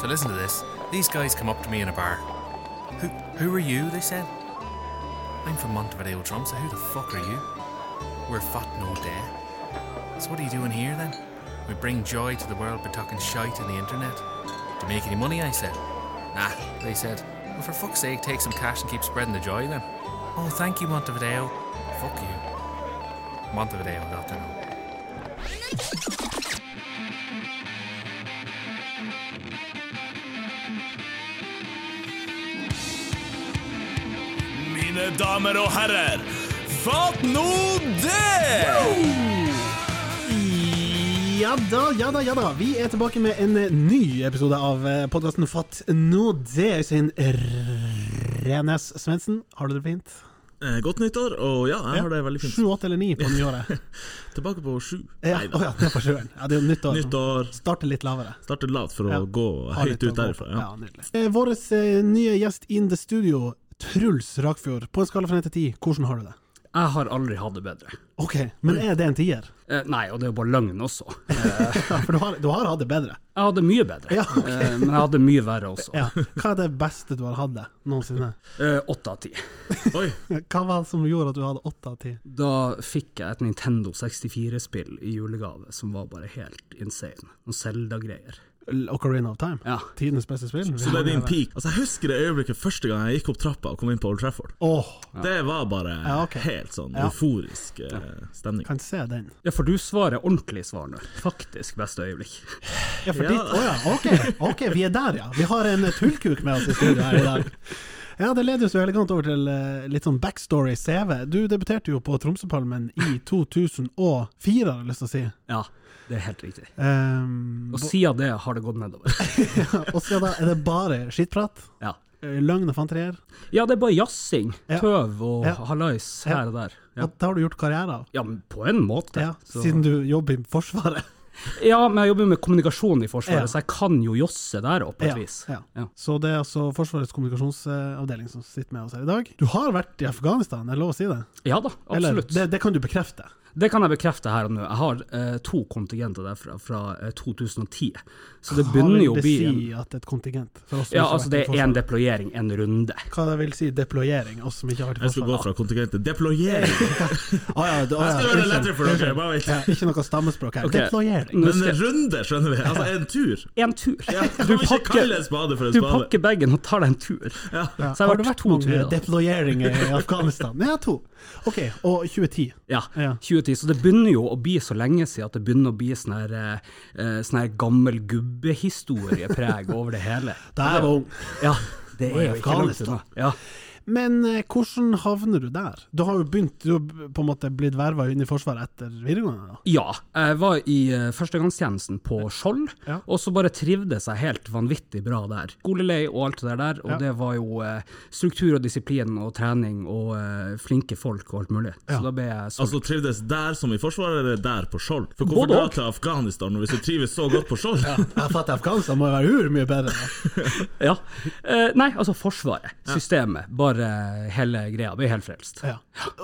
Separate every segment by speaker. Speaker 1: So listen to this. These guys come up to me in a bar. Who who are you? They said. I'm from Montevideo Drum, so who the fuck are you? We're fat no day. So what are you doing here then? We bring joy to the world by talking shite on the internet. Do you make any money? I said. Nah, they said. Well, for fuck's sake, take some cash and keep spreading the joy then. Oh, thank you, Montevideo. Fuck you. Montevideo, not to know.
Speaker 2: Mine damer og herrer, fatt nå det!
Speaker 3: Ja da, ja da, ja da. Vi er tilbake med en eh, ny episode av podkasten Fatt nå det. Øystein Renes Svendsen, har du det fint?
Speaker 2: Eh, Godt nyttår, og ja, jeg har det veldig fint.
Speaker 3: Sju, åtte eller ni på nyåret?
Speaker 2: Tilbake på sju.
Speaker 3: Ja,
Speaker 2: Neida.
Speaker 3: å ja, det er på sjøen. Ja, det er jo nyttår.
Speaker 2: Nyttår.
Speaker 3: Starter litt lavere.
Speaker 2: Starter lavt for å
Speaker 3: Ja.
Speaker 2: gå
Speaker 3: Har litt
Speaker 2: høyt ut
Speaker 3: å gå
Speaker 2: derifra.
Speaker 3: på.
Speaker 2: Ja.
Speaker 3: ja, nydelig. Eh, Vår eh, nye gjest in the studio, Truls Rakfjord. På en skala fra 1 til 10, hvordan har du det?
Speaker 4: Jeg har aldri hatt det bedre.
Speaker 3: Ok, men er det en tier?
Speaker 4: Eh, nei, og det er jo bare løgn også. Eh,
Speaker 3: Ja, for du har, du har hatt det bedre.
Speaker 4: jeg hadde mye bedre,
Speaker 3: Ja, ok.
Speaker 4: eh, men jeg hadde mye verre også.
Speaker 3: Ja. Hva er det beste du har hatt det noensinne?
Speaker 4: Eh, Åtte av ti.
Speaker 2: Oi,
Speaker 3: Hva var det som gjorde at du hadde åtte av ti?
Speaker 4: Da fikk jeg et Nintendo 64-spill i julegave som var bare helt insane. Noen Zelda-greier.
Speaker 3: Ocarina of Time?
Speaker 4: Ja.
Speaker 3: Tidenes beste spill?
Speaker 2: så det er din peak. Altså, Jeg husker det øyeblikket første gang jeg gikk opp trappa og kom inn på Old Trafford.
Speaker 3: Åh,
Speaker 2: Det var bare
Speaker 3: Ja, ok.
Speaker 2: helt sånn
Speaker 3: Ja.
Speaker 2: euforisk eh, stemning.
Speaker 3: kan se den.
Speaker 4: Ja, for du svarer ordentlig svar nå. Faktisk beste øyeblikk.
Speaker 3: Ja, for
Speaker 2: Ja.
Speaker 3: ditt Å ja, ok, ok, vi er der, ja. Vi har en eh, tullkuk med oss i studio her i dag. Ja, det leder jo så elegant over til eh, litt sånn backstory CV. Du debuterte jo på Tromsøpalmen i 2004, har jeg lyst til å si.
Speaker 4: Ja, det er helt riktig.
Speaker 3: Ehm,
Speaker 4: Og siden det har det gått nedover.
Speaker 3: og siden da er det bare skittprat,
Speaker 4: Ja,
Speaker 3: eh, løgn og fanterier.
Speaker 4: ja det er bare jazzing,
Speaker 3: Ja.
Speaker 4: tøv og
Speaker 3: Ja.
Speaker 4: hallais her og der. Ja,
Speaker 3: Og det har du gjort karriere av.
Speaker 4: ja men på en måte.
Speaker 3: Ja,
Speaker 4: Så-
Speaker 3: siden du jobber i Forsvaret.
Speaker 4: ja, men jeg jobber jo med kommunikasjon i Forsvaret,
Speaker 3: Ja.
Speaker 4: så jeg kan jo josse der òg, på et
Speaker 3: Ja,
Speaker 4: vis.
Speaker 3: ja.
Speaker 4: Ja.
Speaker 3: Så det er altså Forsvarets kommunikasjonsavdeling som sitter med oss her i dag. Du har vært i Afghanistan, er det lov å si det?
Speaker 4: Ja da,
Speaker 3: Eller,
Speaker 4: absolutt.
Speaker 3: det, det kan du bekrefte.
Speaker 4: Det kan jeg bekrefte her og nå. Jeg har eh, to kontingenter derfra fra eh, 2010. Så det begynner jo å bli
Speaker 3: Hva vil
Speaker 4: en,
Speaker 3: det si at et kontingent? For oss som ikke
Speaker 4: Ja,
Speaker 3: har
Speaker 4: altså
Speaker 3: vært
Speaker 4: det
Speaker 3: i
Speaker 4: er én
Speaker 3: Forsvaret.
Speaker 4: deployering, én runde.
Speaker 3: Hva det vil si deployering, oss som ikke har vært i
Speaker 2: Jeg skulle gå
Speaker 3: Forsvaret?
Speaker 2: fra kontingent til deployering!
Speaker 3: Å ja, det- å
Speaker 2: Jeg
Speaker 3: ja,
Speaker 2: skal gjøre det
Speaker 3: unnskyld,
Speaker 2: lettere for dere,
Speaker 3: unnskyld.
Speaker 2: bare vent.
Speaker 3: Ja, ikke noe stammespråk her.
Speaker 4: Ok.
Speaker 3: Deployering.
Speaker 4: Nå
Speaker 2: Men
Speaker 4: skal-
Speaker 2: runde, skjønner vi. Altså en tur.
Speaker 4: En tur.
Speaker 2: Ja, kan
Speaker 4: Du
Speaker 2: vi ikke
Speaker 4: pakker-
Speaker 2: kalle en spade for en
Speaker 4: Du
Speaker 2: spade?
Speaker 4: pakker bagen og tar deg en tur.
Speaker 3: Ja.
Speaker 4: Så jeg har
Speaker 3: Har det vært
Speaker 4: vært to
Speaker 3: mange
Speaker 4: turer.
Speaker 3: deployeringer i Afghanistan? Ja, to. Ok, og 2010.
Speaker 4: Ja,
Speaker 3: Ja.
Speaker 4: 2010. Så det begynner jo å bli så lenge siden at det begynner å bli sånn her, eh, sånn her gammel gubbehistoriepreg over det hele.
Speaker 3: Da jeg var ung.
Speaker 4: Ja, det
Speaker 3: Oi,
Speaker 4: er jo ikke langt
Speaker 3: Afghanistan.
Speaker 4: unna. Ja.
Speaker 3: Men eh, hvordan havner du der? Du har jo begynt, du har b- på en måte blitt verva inn i Forsvaret etter videregående. da.
Speaker 4: Ja, jeg var i eh, førstegangstjenesten på Skjold,
Speaker 3: Ja.
Speaker 4: og så bare trivdes jeg helt vanvittig bra der. Skolelei og alt det der, og
Speaker 3: Ja.
Speaker 4: det var jo eh, struktur og disiplin og trening og eh, flinke folk og alt mulig.
Speaker 3: Ja.
Speaker 4: Så da ble jeg solgt.
Speaker 2: Altså Trivdes der som i Forsvaret, eller der på Skjold? For hvorfor
Speaker 4: Både
Speaker 2: dra
Speaker 4: og.
Speaker 2: til Afghanistan når hvis du trives så godt på Skjold?
Speaker 3: Jeg fatter Afghanistan må jo være ur mye bedre. da.
Speaker 4: Ja. Eh, nei, altså Forsvaret, systemet, bare hele greia. Ble helt frelst.
Speaker 3: Ja.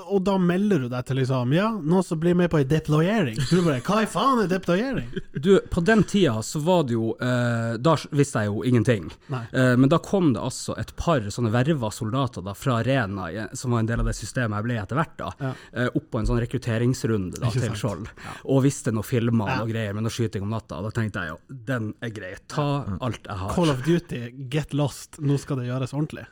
Speaker 3: Og da melder du deg til liksom Ja, noen som blir med på ei deployering. Du bare Hva i faen er deployering?
Speaker 4: Du, på den tida så var det jo eh, Da visste jeg jo ingenting.
Speaker 3: Nei.
Speaker 4: Eh, men da kom det altså et par sånne verva soldater da, fra Rena, i- som var en del av det systemet jeg ble etter hvert, da,
Speaker 3: Ja.
Speaker 4: eh, opp på en sånn rekrutteringsrunde da,
Speaker 3: Ikke sant.
Speaker 4: til Skjold. Og visste noe filmer
Speaker 3: Ja.
Speaker 4: og greier med noe skyting om natta. Og da tenkte jeg jo, den er grei. Ta alt jeg har.
Speaker 3: Call of Duty, get lost, nå skal det gjøres ordentlig.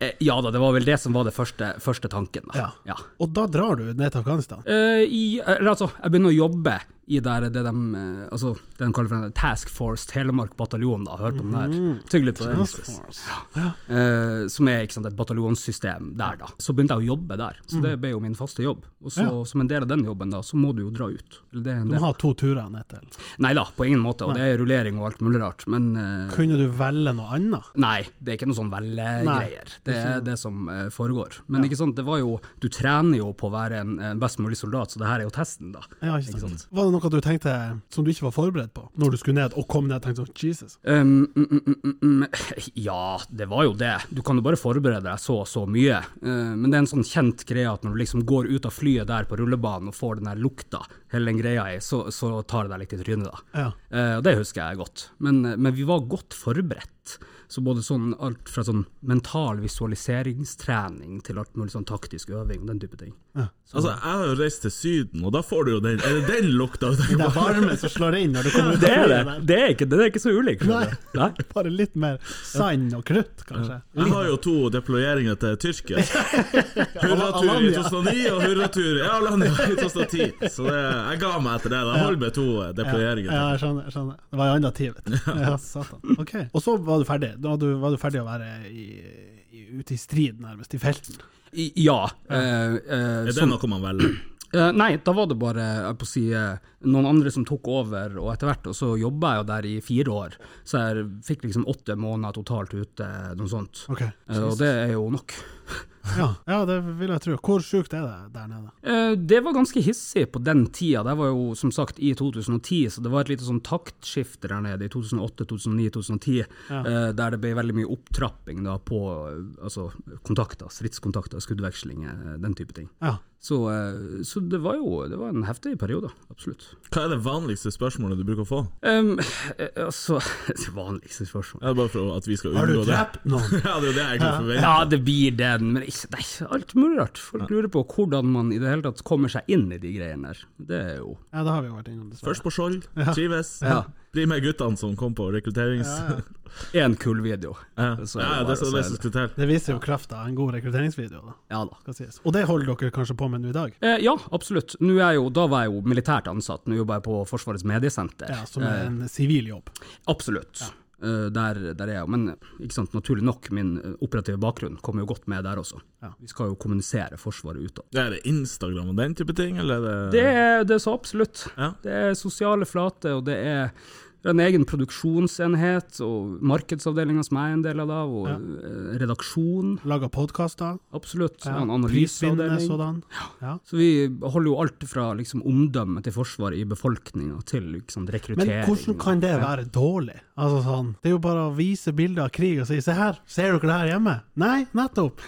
Speaker 4: Eh, ja da, det var vel det som var det første, første tanken. da. Ja.
Speaker 3: Og da drar du ned til Afghanistan.
Speaker 4: Eh, i, eller altså, jeg begynner å jobbe i der, det de, eh, altså, det de kaller for en Task Force Telemark bataljon. da, Hørt om den
Speaker 3: Mhm.
Speaker 4: der? Tygg litt på den. Eh, som er ikke sant, et bataljonssystem der, da. Så begynte jeg å jobbe der, så det ble jo min faste jobb. Og så,
Speaker 3: Mhm. Ja.
Speaker 4: som en del av den jobben, da, så må du jo dra ut. Eller Det er en
Speaker 3: Du må
Speaker 4: del.
Speaker 3: ha to turer ned til.
Speaker 4: Nei da, på ingen måte, og det er rullering og alt mulig rart, men eh,
Speaker 3: Kunne du velge noe annet?
Speaker 4: Nei, det er ikke noe sånn velgreier. Det er det som eh, foregår. Men ikke sant, det var jo Du trener jo på å være en, en best mulig soldat, så det her er jo testen, da.
Speaker 3: Ja, ikke sant. Var det noe du tenkte som du ikke var forberedt på, når du skulle ned, og kom ned og tenkte sånn Jesus.
Speaker 4: Um, mm, mm, mm, mm, ja, det var jo det. Du kan jo bare forberede deg så og så mye. Eh, men det er en sånn kjent greie at når du liksom går ut av flyet der på rullebanen og får den der lukta, hele den greia i, så, så tar det deg litt i trynet, da.
Speaker 3: Ja.
Speaker 4: Eh, og det husker jeg godt. Men, eh, men vi var godt forberedt. Så både sånn alt fra sånn mental visualiseringstrening til alt mulig sånn taktisk øving og den type ting.
Speaker 2: Altså, jeg har jo reist til Syden, og da får du jo den, er det den lukta. du tenker
Speaker 3: Det
Speaker 2: på?
Speaker 3: er varme som slår inn når du kommer ut
Speaker 4: Det er
Speaker 3: av
Speaker 4: det!
Speaker 3: flyet der.
Speaker 4: Det er ikke, det er ikke så ulikt.
Speaker 3: Nei.
Speaker 4: Nei.
Speaker 3: Bare litt mer sand og krutt, kanskje.
Speaker 2: Jeg har jo to deployeringer til Tyrkia. Hurratur i
Speaker 3: Alanya.
Speaker 2: 2009 og hurratur i Alanya i 2010. Så det, jeg ga meg etter det. Jeg holder med to eh, deployeringer.
Speaker 3: Ja, jeg skjønner. jeg skjønner. Det var en annen tid, vet du. Ja, satan. Ok. Og så var du ferdig. Da var du, var du ferdig å være i, i, ute i strid, nærmest, i felten.
Speaker 4: I, ja. eh, eh,
Speaker 2: Er
Speaker 4: så-
Speaker 2: det noe man velger?
Speaker 4: Eh, nei, da var det bare jeg på å si, eh, noen andre som tok over, og etter hvert, og så jobba jeg jo der i fire år. Så jeg fikk liksom åtte måneder totalt ute, noe sånt.
Speaker 3: Ok.
Speaker 4: Eh, og det er jo nok.
Speaker 3: Ja, ja det vil jeg tro. Hvor sjukt er det der nede?
Speaker 4: Eh, det var ganske hissig på den tida. Det var jo som sagt i 2010, så det var et lite sånn taktskifte der nede i 2008, 2009, 2010, eh, der det ble veldig mye opptrapping da på eh, altså, kontakter, stridskontakter, skuddvekslinger, eh, den type ting.
Speaker 3: Ja.
Speaker 4: Så, eh, så det var jo det var en heftig periode, absolutt.
Speaker 2: Hva er det vanligste spørsmålet du bruker å få?
Speaker 4: Um, eh, altså Det vanligste spørsmålet
Speaker 2: Er det bare for at vi skal
Speaker 3: Har du
Speaker 2: unngå det?
Speaker 3: drept noen?
Speaker 2: Ja, det er jo det jeg egentlig forventer.
Speaker 4: Ja, det blir det, men ikke, det er ikke alt mulig rart. Folk lurer på hvordan man i det hele tatt kommer seg inn i de greiene der. Det er jo
Speaker 3: Ja, det har vi jo vært innom, dessverre.
Speaker 2: Først på Skjold, trives.
Speaker 4: Ja.
Speaker 2: Bli med guttene som kom på rekrutterings... Ja,
Speaker 4: én kul video.
Speaker 2: ja.
Speaker 4: Så er det
Speaker 2: det er så
Speaker 4: bare å
Speaker 2: det
Speaker 4: si
Speaker 2: som
Speaker 4: det.
Speaker 2: skulle til.
Speaker 3: Det viser jo krafta av en god rekrutteringsvideo, da.
Speaker 4: Ja da.
Speaker 3: Skal sies. Og det holder dere kanskje på med nå i dag?
Speaker 4: Eh, ja, absolutt. Nå er jeg jo, da var jeg jo militært ansatt, nå jobber jeg på Forsvarets mediesenter.
Speaker 3: Ja, som er en sivil jobb.
Speaker 4: Absolutt. Eh, der, der er jeg jo. Men ikke sant, naturlig nok, min eh, operative bakgrunn kommer jo godt med der også.
Speaker 3: Ja.
Speaker 4: Vi skal jo kommunisere Forsvaret utad.
Speaker 2: Er det Instagram og den type ting, eller er
Speaker 4: Det er, det er så absolutt.
Speaker 2: Ja.
Speaker 4: Det er sosiale flater, og det er en egen produksjonsenhet, og markedsavdelinga som jeg er en del av, da, og eh, redaksjon.
Speaker 3: Lager podkaster.
Speaker 4: Absolutt. Ja. En
Speaker 3: Prisvinnende
Speaker 4: analyseavdeling.
Speaker 3: sådan. Ja.
Speaker 4: Så vi holder jo alt fra liksom, omdømmet til Forsvaret i befolkninga til liksom,
Speaker 3: Men
Speaker 4: rekruttering.
Speaker 3: hvordan kan det være dårlig? Altså sånn, Det er jo bare å vise bilder av krig og si 'se her, ser dere det her hjemme?' Nei, nettopp!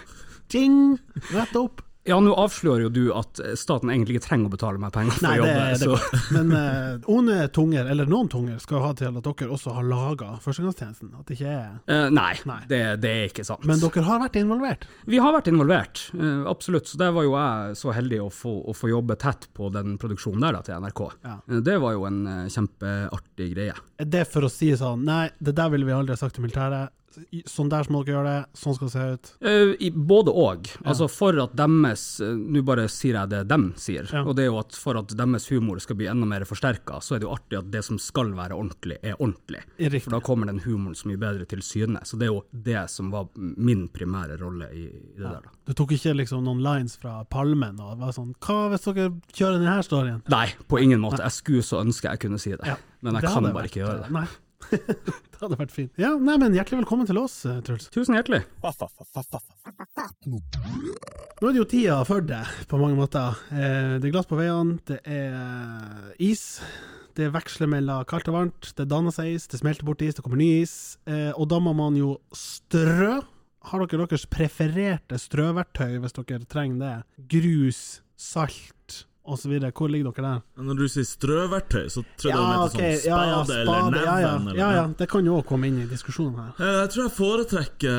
Speaker 3: Ding! Nettopp!
Speaker 4: Ja, nå avslører jo du at eh, staten egentlig ikke trenger å betale meg penger for
Speaker 3: Nei,
Speaker 4: å
Speaker 3: det,
Speaker 4: jobbe.
Speaker 3: det er godt. Men eh, onde tunger, eller noen tunger, skal ha til at dere også har laga førstegangstjenesten. At det ikke er
Speaker 4: Eh, nei,
Speaker 3: Nei.
Speaker 4: Det, det er ikke sant.
Speaker 3: Men dere har vært involvert?
Speaker 4: Vi har vært involvert, eh, absolutt. Så der var jo jeg så heldig å få, å få jobbe tett på den produksjonen der da, til NRK.
Speaker 3: Ja.
Speaker 4: Eh, Det var jo en eh, kjempeartig greie.
Speaker 3: Er det for å si sånn 'nei, det der ville vi aldri ha sagt til militæret'. Sånn der må dere gjøre det. Sånn skal det se ut.
Speaker 4: Eh, i- Både og. Altså for at deres eh, Nå bare sier jeg det dem sier,
Speaker 3: Ja.
Speaker 4: og det er jo at for at deres humor skal bli enda mer forsterka, så er det jo artig at det som skal være ordentlig, er ordentlig.
Speaker 3: Riktig.
Speaker 4: For da kommer den humoren så mye bedre til syne. Så det er jo det som var min primære rolle i, i det der, da.
Speaker 3: Du tok ikke liksom noen lines fra palmen og var sånn 'hva hvis dere kjører denne storyen'?
Speaker 4: Nei, på ingen måte. Jeg skulle så ønske jeg kunne si det,
Speaker 3: Ja,
Speaker 4: men
Speaker 3: det
Speaker 4: jeg kan
Speaker 3: hadde
Speaker 4: bare
Speaker 3: vært- eh,
Speaker 4: ikke gjøre det.
Speaker 3: Nei. det hadde vært fint. Ja, nei, men Hjertelig velkommen til oss, eh, Truls.
Speaker 4: Tusen hjertelig.
Speaker 3: Nå er det jo tida for deg, på mange måter. Eh, Det er glatt på veiene, det er eh, is. Det veksler mellom kaldt og varmt, det danner seg is, det smelter bort is, det kommer ny is. Eh, Og da må man jo strø. Har dere deres prefererte strøverktøy hvis dere trenger det? Grus, salt osv. Hvor ligger dere der?
Speaker 2: Når du sier strøverktøy, så tror jeg du mente
Speaker 3: ok,
Speaker 2: sånn spade, eller neven.
Speaker 3: ja, ja.
Speaker 2: eller-
Speaker 3: ja, ja. Det kan jo òg komme inn i diskusjonen her.
Speaker 2: Eh, Jeg tror jeg foretrekker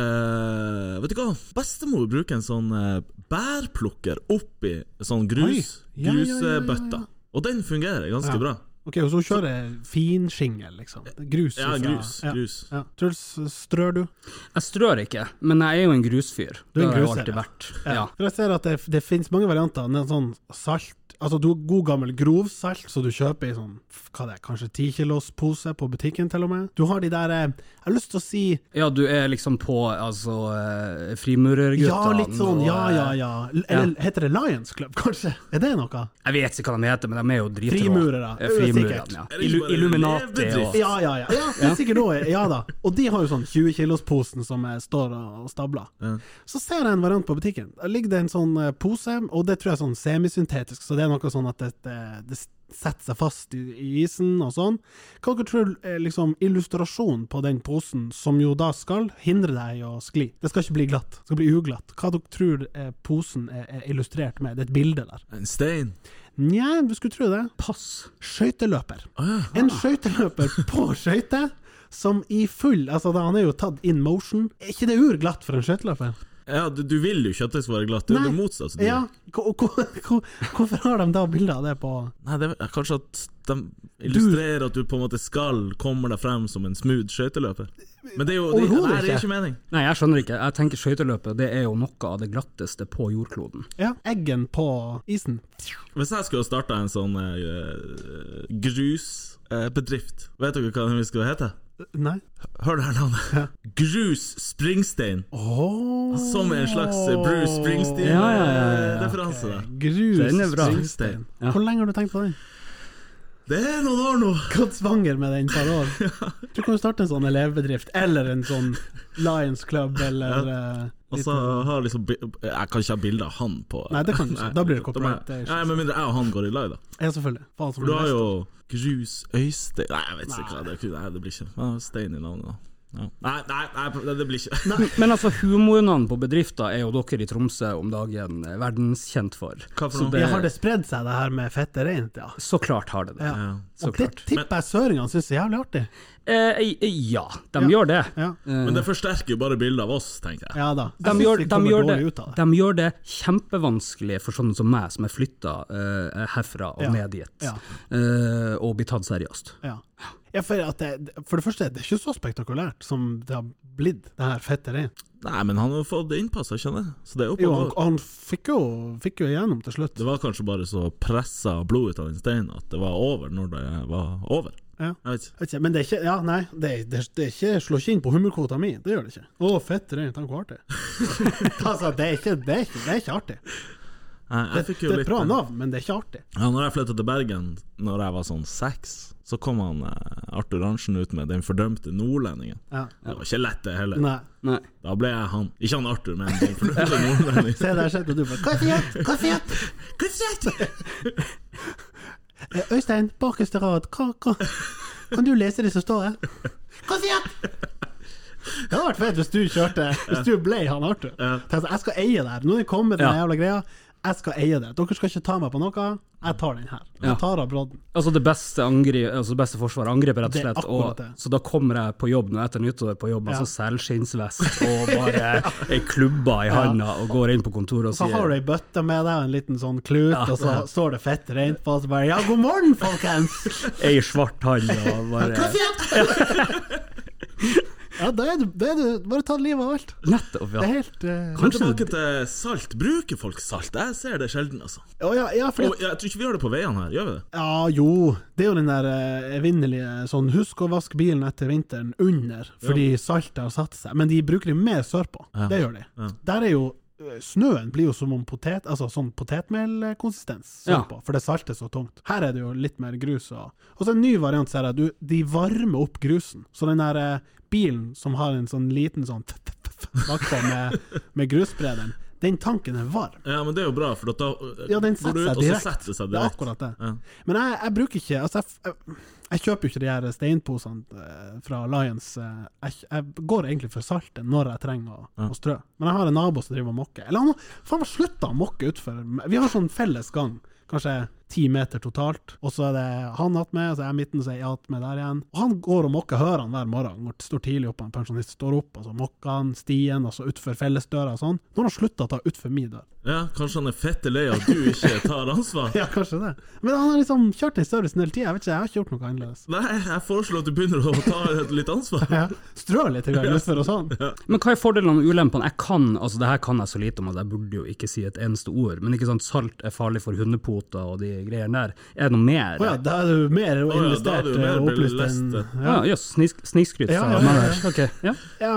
Speaker 2: eh, Vet du hva? Bestemor bruker en sånn eh, bærplukker oppi sånn grus,
Speaker 3: Oi. Ja, ja, ja, ja, ja,
Speaker 2: grusbøtta.
Speaker 3: ja.
Speaker 2: Og den fungerer ganske
Speaker 3: Ja.
Speaker 2: bra.
Speaker 3: Ok, og så kjører finsjingel, liksom. Grus.
Speaker 2: Ja,
Speaker 3: ifra-
Speaker 2: grus.
Speaker 3: Ja.
Speaker 2: grus.
Speaker 3: Ja. Truls, strør du?
Speaker 4: Jeg strør ikke, men jeg er jo en grusfyr.
Speaker 3: Du er en
Speaker 4: det har jeg
Speaker 3: gruser,
Speaker 4: alltid
Speaker 3: ja.
Speaker 4: vært. Ja.
Speaker 3: For jeg ser at det, det finnes mange varianter. Det er sånn salt Altså du har god gammel grovsalt, så du kjøper i sånn hva det er, kanskje 10 kilos pose på butikken, til og med. Du har de der eh, Jeg har lyst til å si
Speaker 4: ja, du er liksom på altså, eh, frimurerguttene.
Speaker 3: ja, litt sånn,
Speaker 4: og,
Speaker 3: ja, ja,
Speaker 4: eh,
Speaker 3: ja. L- Eller heter det Lions Club, kanskje? Er det noe?
Speaker 4: Jeg vet ikke hva de heter, men de er jo dritrå.
Speaker 3: Frimurere.
Speaker 4: Eh, Frimurerne,
Speaker 3: Sikkert.
Speaker 4: ja.
Speaker 2: Er det ikke
Speaker 4: Illu
Speaker 2: bare
Speaker 4: Illuminati og
Speaker 2: levedrift?
Speaker 3: Ja, ja, ja. ja, det er sikkert også, ja da. Og de har jo sånn 20 kilos-posen som eh, står og stabler. Så ser jeg en variant på butikken. Der ligger det en sånn eh, pose, og det tror jeg er sånn semisyntetisk, så det er er noe sånn at det, det, det setter seg fast i, i isen og sånn. Hva dere tror er liksom illustrasjonen på den posen, som jo da skal hindre deg i å skli? Det skal ikke bli glatt, det skal bli uglatt. Hva dere tror eh, posen er, er illustrert med? Det er et bilde der.
Speaker 2: En stein.
Speaker 3: Nja, du skulle tro det.
Speaker 4: Pass.
Speaker 3: Skøyteløper.
Speaker 2: Å ja.
Speaker 3: En skøyteløper på skøyter som i full Altså, da han er jo tatt in motion. Er ikke det urglatt for en skøyteløper?
Speaker 2: ja du, du vil jo ikke at det skal være glatt. Det er jo
Speaker 3: Nei.
Speaker 2: det motsatte. som
Speaker 3: Ja,
Speaker 2: gjør.
Speaker 3: hvor- hvor- hvor- hvorfor har de da bilder av det på
Speaker 2: Nei, det er kanskje at de illustrerer at du på en måte skal komme deg frem som en smooth skøyteløper. Men det er jo det,
Speaker 3: Overhodet
Speaker 2: nei, det
Speaker 3: ikke.
Speaker 2: er ikke mening.
Speaker 4: Nei, jeg skjønner ikke. Jeg tenker skøyteløpet det er jo noe av det glatteste på jordkloden.
Speaker 3: Ja, eggen på isen?
Speaker 2: Hvis jeg skulle ha starta en sånn eh, grusbedrift, vet dere hva den skulle hete?
Speaker 3: Nei.
Speaker 2: Hør det her navnet. Grus Springstein.
Speaker 3: Oh,
Speaker 2: Som en slags eh, Bruce
Speaker 4: Ja, ja, ja, ja, ja,
Speaker 2: Springsteen-referanse.
Speaker 3: Grus
Speaker 4: Den er bra.
Speaker 3: Springsteen.
Speaker 4: Ja.
Speaker 3: Hvor lenge har du tenkt på den?
Speaker 2: Det er noen år nå!
Speaker 3: Gått svanger med den et par år. Du kan jo starte en sånn elevbedrift, eller en sånn Lions Club, eller eh,
Speaker 2: Og så har liksom bi- Jeg kan ikke ha bilde av han på
Speaker 3: Nei, det kan du ikke. Da blir
Speaker 2: Da må jeg-
Speaker 3: det copyright. Det er ikke
Speaker 2: Nei, Med mindre jeg og han går i lag, da.
Speaker 3: Ja, selvfølgelig. Faen som
Speaker 2: For du har
Speaker 3: helst.
Speaker 2: jo Grus Øystein Nei, jeg vet ikke hva det er. Nei, det blir ikke Ja, Stein i navnet, da. Ja. Nei, nei, nei, det blir ikke
Speaker 4: Men altså, humornavn på bedrifter er jo dere i Tromsø om dagen eh, verdenskjent for.
Speaker 2: Hva for
Speaker 4: Så
Speaker 2: noe?
Speaker 4: det-
Speaker 3: Ja, har det spredd seg, det her med fette reint, ja?
Speaker 4: Så klart har det det.
Speaker 3: Ja.
Speaker 4: Så
Speaker 3: Og det
Speaker 4: klart.
Speaker 3: tipper jeg søringene syns er jævlig artig.
Speaker 4: Eh, eh, ja, de
Speaker 3: Ja.
Speaker 4: gjør det.
Speaker 3: Ja,
Speaker 4: Eh,
Speaker 2: Men det forsterker jo bare bildet av oss, tenker jeg.
Speaker 3: ja da. Jeg
Speaker 4: de
Speaker 3: synes
Speaker 4: gjør,
Speaker 3: vi
Speaker 4: de,
Speaker 3: kommer
Speaker 4: gjør det,
Speaker 3: dårlig ut av det.
Speaker 4: de gjør det kjempevanskelig for sånne som meg, som er flytta eh, herfra og
Speaker 3: Ja.
Speaker 4: ned dit,
Speaker 3: Ja.
Speaker 4: eh, og blir tatt seriøst.
Speaker 3: Ja. Ja, for, at det, for det første, det er ikke så spektakulært som det har blitt, det her fette reint.
Speaker 2: Nei, men han har jo fått det innpassa, skjønner jeg. Så det er oppe
Speaker 3: Jo,
Speaker 2: og
Speaker 3: han,
Speaker 2: går.
Speaker 3: han fikk, jo, fikk jo igjennom til slutt.
Speaker 2: Det var kanskje bare så pressa blod ut av den steinen at det var over når det var over.
Speaker 3: Ja.
Speaker 2: Jeg vet ikke.
Speaker 3: Vet ikke, Men det er ikke Ja, nei, det, er- det, er- det er ikke, slår ikke inn på hummerkvota mi. Det gjør det ikke. Å, fett reint, han var artig. altså, det er, ikke, det, er ikke, det er ikke artig.
Speaker 2: Nei,
Speaker 3: Det,
Speaker 2: jeg fikk jo
Speaker 3: det er
Speaker 2: litt
Speaker 3: et
Speaker 2: eh,
Speaker 3: bra navn, men det er ikke artig.
Speaker 2: Ja, når jeg flytta til Bergen Når jeg var sånn seks, så kom han eh, Arthur Arntzen ut med 'Den fordømte nordlendingen'.
Speaker 3: Ja.
Speaker 2: Det var ikke lett, det heller.
Speaker 3: Nei.
Speaker 4: Nei.
Speaker 2: Da ble jeg han. Ikke han Arthur, men den fordømte nordlendingen.
Speaker 3: Se, der sitter du bare Kaffejett! Kaffejett!
Speaker 2: Hva skjedde?
Speaker 3: Eh, Øystein, bakerste rad, hva, hva, kan du lese det som står her? Kaffejett! Det hadde vært fett hvis du kjørte Hvis du ble han Arthur. Tenkte, jeg skal eie det her. Nå er det kommet den
Speaker 4: Ja.
Speaker 3: jævla greia. Jeg skal eie det. Dere skal ikke ta meg på noe. Jeg tar den her.
Speaker 4: Ja.
Speaker 3: Jeg tar av brodden.
Speaker 4: Altså det beste, angri, altså det beste forsvaret angriper, rett og
Speaker 3: Det er
Speaker 4: slett.
Speaker 3: akkurat
Speaker 4: Og,
Speaker 3: det.
Speaker 4: så da kommer jeg på jobb nå etter nyttår på jobb, altså selskinnsvest og bare ei klubbe i handa og går inn på kontoret og
Speaker 3: Så
Speaker 4: sier
Speaker 3: har du ei bøtte med deg og en liten sånn klut,
Speaker 4: Ja.
Speaker 3: og så står det fett rent på, og så bare Ja, god morgen, folkens!
Speaker 4: ei svart hand og bare
Speaker 3: Kaffejett! Ja, da er du, da er du Bare ta livet av alt.
Speaker 4: Nettopp,
Speaker 3: Det
Speaker 4: ja.
Speaker 3: er helt eh,
Speaker 4: Kanskje
Speaker 2: Tilbake til salt. Bruker folk salt? Jeg ser det sjelden, altså.
Speaker 3: Å, ja, ja, fordi at-
Speaker 2: Og jeg tror ikke vi gjør det på veiene her, gjør vi det?
Speaker 3: Ja, jo. Det er jo den der eh, evinnelige sånn husk å vaske bilen etter vinteren under, fordi saltet har satt seg. Men de bruker det mer sørpå. Det gjør de. Der er jo eh, Snøen blir jo som om potet, altså sånn potetmelkonsistens
Speaker 4: Ja.
Speaker 3: sørpå, for det saltet er så tungt. Her er det jo litt mer grus. Og, og så en ny variant ser jeg, du, de varmer opp grusen. Så den der eh, bilen som har en sånn liten sånn t- t- t- t- bakpå med, med grussprederen, den tanken er varm.
Speaker 2: Ja, men det er jo bra, for at da eh,
Speaker 3: Ja, den
Speaker 2: går du ut, og så
Speaker 3: setter seg direkte.
Speaker 2: setter det seg
Speaker 3: Det er
Speaker 2: direkte.
Speaker 3: akkurat det.
Speaker 2: Ja.
Speaker 3: Men jeg, jeg bruker ikke altså jeg, f- jeg, jeg kjøper jo ikke de her steinposene eh, fra Lions. eh, Jeg, jeg går egentlig for saltet når jeg trenger å, å strø. Men jeg har en nabo som driver og mokker. Eller han har faen meg slutta å mokke utfor. Vi har sånn felles gang, kanskje ti meter totalt. Og så er det han attmed, og så er jeg midten, så er jeg attmed der igjen. Og han går og mokker hørene hver morgen. Han går- står tidlig opp, han pensjonist står opp, og så mokker han stien, og så utfor fellesdøra og sånn. Nå har han slutta å ta utfor min dør.
Speaker 2: Ja, kanskje han er fette lei av at du ikke tar ansvar.
Speaker 3: Ja, kanskje det. Men han har liksom kjørt den servicen hele tida. Jeg vet ikke, jeg har ikke gjort noe annerledes.
Speaker 2: Nei, jeg foreslår at du begynner å ta litt ansvar.
Speaker 3: Ja. Strø litt i gang utfor og sånn.
Speaker 4: Men hva er fordelene og ulempene? Jeg kan, altså det her kan jeg så lite om at jeg burde jo ikke si et eneste ord, men ikke sant, salt er farlig for hundepoter og de greiene der. Er det noe mer?
Speaker 3: Å ja, da er du mer
Speaker 2: ja, da er
Speaker 3: investert eh,
Speaker 2: du
Speaker 3: og
Speaker 2: mer
Speaker 3: opplyst enn
Speaker 2: belest.
Speaker 4: Ja, jøss, snisk, snikskryt
Speaker 3: Ja,
Speaker 4: fra
Speaker 3: ja,
Speaker 4: meg der. Ok, ja.
Speaker 3: Ja,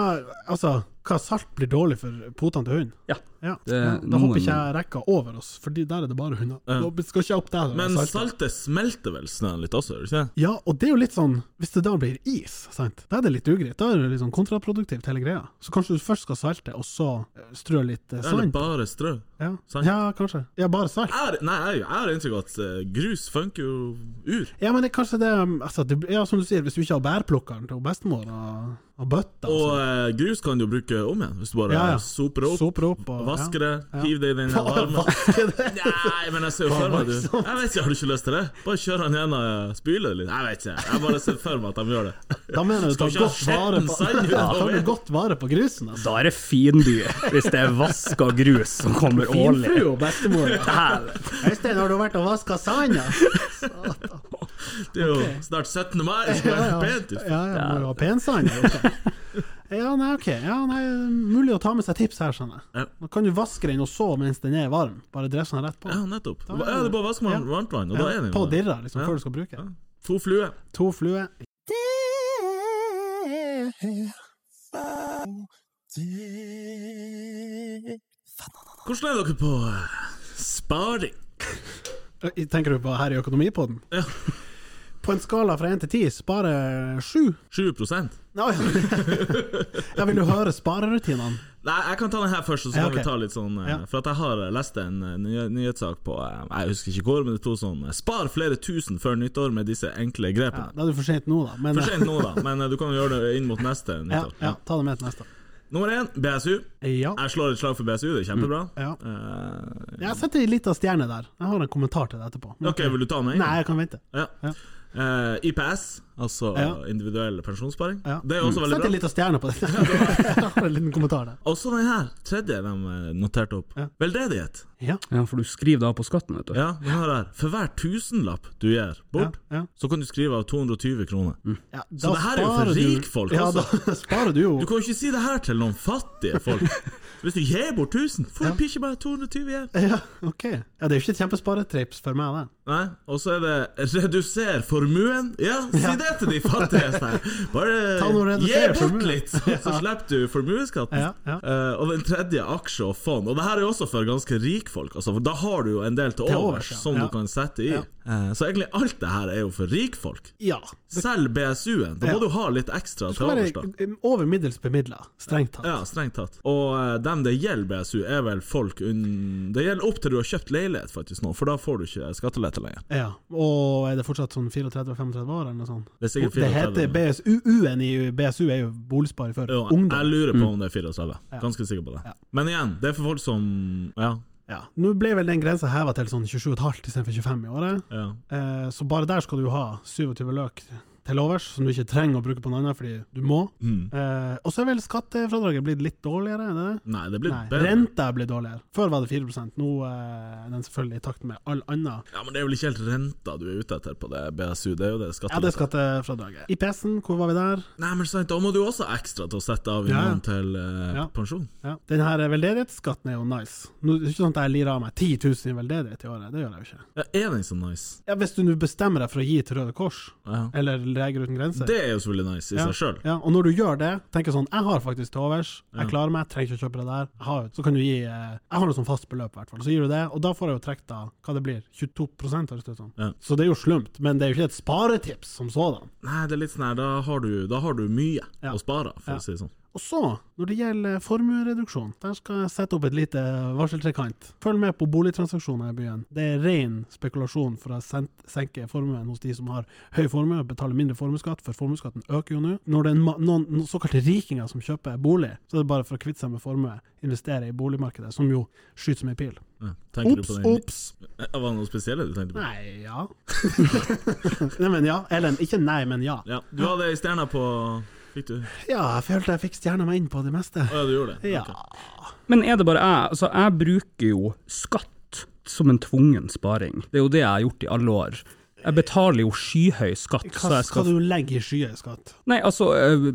Speaker 3: altså, hva salt blir dårlig for potene til hunden?
Speaker 4: Ja.
Speaker 3: Ja.
Speaker 4: Det er
Speaker 3: Da
Speaker 4: noen-
Speaker 3: håper ikke jeg rekka over oss, for der er det bare hunder.
Speaker 2: Ja.
Speaker 3: Da skal ikke jeg opp der.
Speaker 2: Men
Speaker 3: saltet.
Speaker 2: saltet smelter vel snøen litt også, gjør det ikke det?
Speaker 3: Ja, og det er jo litt sånn Hvis det da blir is, sant? da er det litt ugreit. Da er det litt sånn kontraproduktivt, hele greia. Så kanskje du først skal salte, og så eh, strø litt eh,
Speaker 2: Eller
Speaker 3: sand?
Speaker 2: bare strø?
Speaker 3: Ja.
Speaker 2: sand.
Speaker 3: ja, kanskje. Ja, bare salt.
Speaker 2: Jeg har- nei, jeg jeg har inntrykk av at eh, grus funker jo ur.
Speaker 3: Ja, men det er kanskje det um, altså, det, Ja, som du sier, hvis du ikke har bærplukkeren til bestemor og, og
Speaker 2: Og
Speaker 3: bøtta og
Speaker 2: eh, grus kan du bruke om igjen, hvis du bare
Speaker 3: Ja, ja.
Speaker 2: soper det
Speaker 3: sånn,
Speaker 2: opp,
Speaker 3: soper opp og
Speaker 2: vasker det,
Speaker 3: Ja.
Speaker 2: hiver det i den
Speaker 3: ja.
Speaker 2: varmen.
Speaker 3: Vasker det.
Speaker 2: Nei, men jeg ser jo for meg du
Speaker 3: Bare sånn.
Speaker 2: Jeg vet ikke, Har du ikke lyst til det? Bare kjør han gjennom eh, spyle det litt. Jeg vet ikke. Jeg bare ser for meg at de gjør det.
Speaker 3: Da mener jeg du
Speaker 2: Skal ikke ha
Speaker 3: tar godt vare
Speaker 2: skitten
Speaker 3: på
Speaker 2: sand
Speaker 3: ja,
Speaker 2: utover.
Speaker 3: tar du godt vare på grusen. Altså.
Speaker 4: Da er det finby, hvis det er vaska grus som kommer årlig.
Speaker 3: Finfrue og bestemor. ja.
Speaker 4: Dæven.
Speaker 3: Øystein, har du vært og vaska sanda? Satan.
Speaker 2: Det er jo snart 17. mai, så det
Speaker 3: Ja,
Speaker 2: er
Speaker 3: ja.
Speaker 2: pent. ut.
Speaker 3: ja, jeg må jo ha pensand. Ja, nei, ok. Ja, nei, mulig å ta med seg tips her, skjønner
Speaker 2: Ja.
Speaker 3: jeg. Nå kan du vaske den og så mens den er varm. Bare dress den rett på.
Speaker 2: Ja, nettopp.
Speaker 3: Da er
Speaker 2: Ja, det bare vasker man
Speaker 3: ja.
Speaker 2: varmt vann, og da er den
Speaker 3: på
Speaker 2: jo der.
Speaker 3: dirra, liksom,
Speaker 2: Ja.
Speaker 3: før du skal bruke. den.
Speaker 2: To fluer.
Speaker 3: To fluer.
Speaker 2: Hvordan er dere på eh, sparing?
Speaker 3: Ø, Eh, Tenker du på her i Økonomipodden?
Speaker 2: Ja.
Speaker 3: På en skala fra én til ti, spare sju?
Speaker 2: 7
Speaker 3: Nei, Jeg vil jo høre sparerutinene.
Speaker 2: Nei, jeg kan ta den her først, og så
Speaker 3: Ja,
Speaker 2: kan
Speaker 3: ok.
Speaker 2: vi ta litt sånn eh,
Speaker 3: Ja.
Speaker 2: For at jeg har eh, lest en eh, ny nyhetssak på eh, Jeg husker ikke hvor, men det sto sånn eh, Spar flere tusen før nyttår med disse enkle
Speaker 3: Ja,
Speaker 2: grepene.
Speaker 3: da er det for sent nå, da. Men
Speaker 2: For sent nå, da, men eh, du kan jo gjøre det inn mot neste
Speaker 3: ja,
Speaker 2: nyttår.
Speaker 3: ja, ta det med til neste.
Speaker 2: Nummer én, BSU.
Speaker 3: Ja.
Speaker 2: Jeg slår et slag for BSU, det er kjempebra.
Speaker 3: Mm. ja.
Speaker 2: Eh,
Speaker 3: Jeg setter ei lita stjerne der. Jeg har en kommentar til det etterpå. Men-
Speaker 2: ok, vil du ta den med en
Speaker 3: Nei,
Speaker 2: gang?
Speaker 3: jeg kan vente.
Speaker 2: Ja.
Speaker 3: Ja.
Speaker 2: Eh, IPS, altså
Speaker 3: Ja.
Speaker 2: individuell pensjonssparing.
Speaker 3: Ja. Mm.
Speaker 2: Det er også veldig
Speaker 3: Sett
Speaker 2: bra.
Speaker 3: en liten stjerne på det. Jeg har en liten kommentar der.
Speaker 2: Også den her, tredje de eh, noterte opp.
Speaker 3: Ja.
Speaker 2: Veldedighet.
Speaker 3: Ja,
Speaker 4: Ja, for du skriver det av på skatten, vet du.
Speaker 2: Ja, den her er For hver tusenlapp du gir
Speaker 3: ja, Mm.
Speaker 2: bort,
Speaker 3: ja.
Speaker 2: så kan du skrive av 220 kroner.
Speaker 3: Ja,
Speaker 2: Så
Speaker 3: da
Speaker 2: det her er jo for
Speaker 3: sparer du-
Speaker 2: rikfolk
Speaker 3: ja,
Speaker 2: også.
Speaker 3: Da sparer du jo
Speaker 2: Du kan jo ikke si det her til noen fattige folk. Hvis du gir bort 1000, får
Speaker 3: Ja.
Speaker 2: du pikkje bare 220 igjen.
Speaker 3: Ja, ok. Ja, det er jo ikke et kjempesparetrips for meg, det.
Speaker 2: Nei, og så er det 'reduser formuen'. Ja, si det til de fattigste her.
Speaker 3: Ta noe
Speaker 2: Bare
Speaker 3: og
Speaker 2: gi
Speaker 3: reduser
Speaker 2: bort
Speaker 3: formuen.
Speaker 2: litt, så slipper du formuesskatten.
Speaker 3: Ja, ja.
Speaker 2: Eh, og den tredje, aksje og fond. Og det her er jo også for ganske rikfolk. Altså, for da har du jo en del til
Speaker 3: Til
Speaker 2: overs
Speaker 3: overs, ja.
Speaker 2: som
Speaker 3: Ja.
Speaker 2: du kan sette i.
Speaker 3: Ja.
Speaker 2: Eh, så egentlig alt det her er jo for rikfolk.
Speaker 3: Ja.
Speaker 2: Selv BSU-en. Da
Speaker 3: Ja.
Speaker 2: må du ha litt ekstra til
Speaker 3: Du skal
Speaker 2: overs, da.
Speaker 3: være over middels bemidla, strengt tatt.
Speaker 2: Ja, strengt tatt. Og eh, dem det gjelder BSU, er vel folk unn... Det gjelder opp til du har kjøpt leilighet, faktisk, nå, for da får du ikke skattelette lenger.
Speaker 3: Ja. Og er det fortsatt sånn 34-35 år, eller noe sånt?
Speaker 2: Det er sikkert
Speaker 3: Det
Speaker 2: 34.
Speaker 3: heter BSU-en i BSU er jo boligspar for
Speaker 2: Jo, jeg
Speaker 3: ungdom. Mm.
Speaker 2: lurer på om det er 34.
Speaker 3: Ja.
Speaker 2: Ganske sikker på det.
Speaker 3: Ja.
Speaker 2: Men igjen, det er for folk som Ja.
Speaker 3: Ja. Nå ble vel den grensa heva til sånn 27,5 istedenfor 25 i året.
Speaker 2: ja.
Speaker 3: Eh, Så bare der skal du jo ha 27 løk til overs, som du ikke trenger å bruke på noe annet fordi du må.
Speaker 2: Mm.
Speaker 3: Eh, og så er vel skattefradraget blitt litt dårligere? Er det det?
Speaker 2: Nei, det blir
Speaker 3: Nei,
Speaker 2: bedre.
Speaker 3: renta er blitt dårligere. Før var det 4 nå eh, er den selvfølgelig i takt med all annen.
Speaker 2: Ja, Men det er vel ikke helt renta du er ute etter på det BSU, det er jo det
Speaker 3: Ja, det er
Speaker 2: skattelette.
Speaker 3: skattefradraget. IPS-en, hvor var vi der?
Speaker 2: Nei, men sant, da må du jo også ha ekstra til å sette av i
Speaker 3: Ja, ja.
Speaker 2: måneden til eh,
Speaker 3: Ja.
Speaker 2: pensjon.
Speaker 3: Ja. Den her veldedighetsskatten er jo nice. Nå, det er ikke sånn at jeg lirer av meg 10 000 i veldedighet i året, det gjør jeg jo ikke.
Speaker 2: Ja, er den så nice?
Speaker 3: Ja, hvis du nå bestemmer deg for å gi til Røde Kors,
Speaker 2: Ja.
Speaker 3: eller Leger uten grenser
Speaker 2: Det er jo selvfølgelig nice i
Speaker 3: Ja.
Speaker 2: seg sjøl.
Speaker 3: Ja, og når du gjør det, tenker sånn Jeg har faktisk til overs, jeg
Speaker 2: Ja.
Speaker 3: klarer meg, trenger ikke å kjøpe det der. Jeg har, så kan du gi eh, Jeg har noe sånn fast beløp, i hvert fall. Så gir du det, og da får jeg jo trukket av hva det blir, 22 høres det ut som.
Speaker 2: Ja.
Speaker 3: Så det er jo slumt, men det er jo ikke et sparetips som sådan.
Speaker 2: Nei, det er litt sånn her, da har du, da har du mye
Speaker 3: Ja.
Speaker 2: å spare, for
Speaker 3: Ja.
Speaker 2: å si det sånn.
Speaker 3: Og så, når det gjelder formuereduksjon, der skal jeg sette opp et lite varseltrekant. Følg med på boligtransaksjoner i byen. Det er ren spekulasjon for å sen- senke formuen hos de som har høy formue, betaler mindre formuesskatt, for formuesskatten øker jo nå. Når det er en ma- noen, noen såkalte rikinger som kjøper bolig, så er det bare for å kvitte seg med formue, investere i boligmarkedet, som jo skyter som ei pil.
Speaker 2: Ja. Tenker
Speaker 3: Ops,
Speaker 2: du på den
Speaker 3: ops!
Speaker 2: Ja, Var det noe spesielle du tenkte på?
Speaker 3: Nei, ja. nei, men ja. Ellen, ikke nei, men ja.
Speaker 2: Ja, du hadde ei stjerne på Fikk du? Å
Speaker 3: Ja, jeg følte jeg fikk stjerna meg inn på det meste.
Speaker 2: ja, du gjorde det?
Speaker 3: Ja.
Speaker 2: Ok.
Speaker 4: Men er det bare jeg? Altså, jeg bruker jo skatt som en tvungen sparing. Det er jo det jeg har gjort i alle år. Jeg betaler jo skyhøy skatt. så
Speaker 3: Hva
Speaker 4: jeg skal...
Speaker 3: skal du legge i skyer, skatt?
Speaker 4: Nei, altså, eh,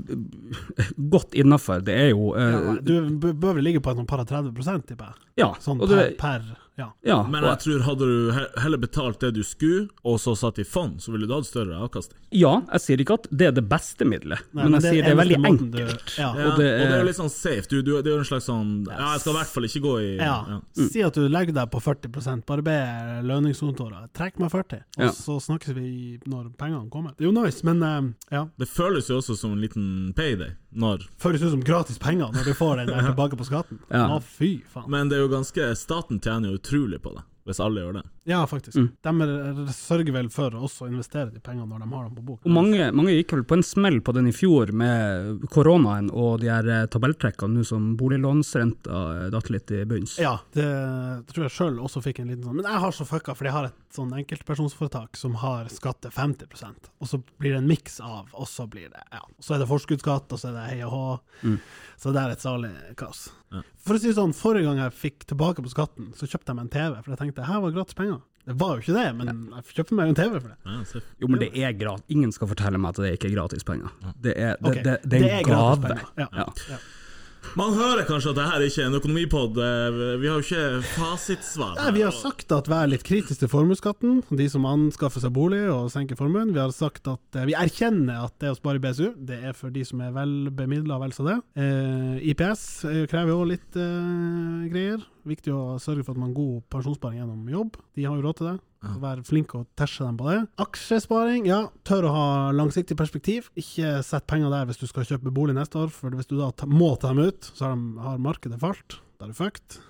Speaker 4: godt innafor. Det er jo eh,
Speaker 3: Ja, du b- bør vel ligge på et sånn par og 30 tipper jeg.
Speaker 4: Ja,
Speaker 3: Sånn
Speaker 4: og det,
Speaker 3: per, per Ja.
Speaker 4: Ja,
Speaker 2: Men
Speaker 4: og-
Speaker 2: jeg tror hadde du he- heller betalt det du skulle, og så satt i fond, så ville du hatt større avkastning.
Speaker 4: ja, jeg sier ikke at det er det beste middelet,
Speaker 3: Nei,
Speaker 4: men jeg sier det er
Speaker 3: eneste
Speaker 4: veldig
Speaker 3: måten
Speaker 4: enkelt.
Speaker 3: du- ja.
Speaker 2: Ja,
Speaker 4: Og
Speaker 2: og,
Speaker 4: det
Speaker 2: det
Speaker 4: er-
Speaker 2: er, jo litt sånn safe. Du, du, det er jo en slags sånn Ja, jeg skal i hvert fall ikke gå i
Speaker 3: Ja.
Speaker 4: Mm.
Speaker 3: Si at du legger deg på 40 bare be lønningskontoret trekk meg 40 og
Speaker 4: Ja.
Speaker 3: så snakkes vi når pengene kommer. Det er jo nice, men eh, ja,
Speaker 2: Det føles jo også som en liten payday, når
Speaker 3: føles ut som gratis penger når du får den der tilbake på skatten.
Speaker 4: Ja.
Speaker 3: Å, fy faen.
Speaker 2: Men det er jo ganske Staten tjener jo utrolig på det, hvis alle gjør det.
Speaker 3: Ja, faktisk.
Speaker 4: Mm.
Speaker 3: De er- sørger vel for å også investere de pengene når de har dem på bok.
Speaker 4: Og mange, mange gikk vel på en smell på den i fjor med koronaen og de her eh, tabelltrekkene nå som boliglånsrenta eh, datt litt i bunns.
Speaker 3: Ja, det tror jeg sjøl også fikk en liten sånn. Men jeg har så fucka, fordi jeg har et sånn enkeltpersonsforetak som har skatt til 50 og så blir det en miks av, og så blir det ja. Så er det forskuddsskatt, og så er det hei og hå. Så det er et salig kaos. For å si det sånn, forrige gang jeg fikk tilbake på skatten, så kjøpte jeg meg en TV, for jeg tenkte her var gratis penger. Det var jo ikke det, men jeg kjøpte meg jo en TV for det.
Speaker 2: Ja, safe.
Speaker 4: Jo, men det er gratis. Ingen skal fortelle meg at det ikke er gratis penger. Det er, det,
Speaker 3: Ok,
Speaker 4: det, det er en
Speaker 3: gratis
Speaker 4: gave.
Speaker 3: penger. Ja.
Speaker 4: Ja.
Speaker 2: Man hører kanskje at det her ikke er en økonomipod. eh, Vi har jo ikke fasitsvar.
Speaker 3: Nei, vi har sagt at vær litt kritisk til formuesskatten, de som anskaffer seg bolig og senker formuen. Vi har sagt at eh, vi erkjenner at det å spare i BSU, det er for de som er vel bemidla, vel så det. Eh, IPS eh, krever jo litt eh, greier. Viktig å sørge for at man har god pensjonssparing gjennom jobb. De har jo råd til det. Så Vær flink å tæsje dem på det. Aksjesparing, ja. Tør å ha langsiktig perspektiv. Ikke sett penger der hvis du skal kjøpe bolig neste år, for hvis du da ta- må ta dem ut, så har, de, har markedet falt. Da er du fucked.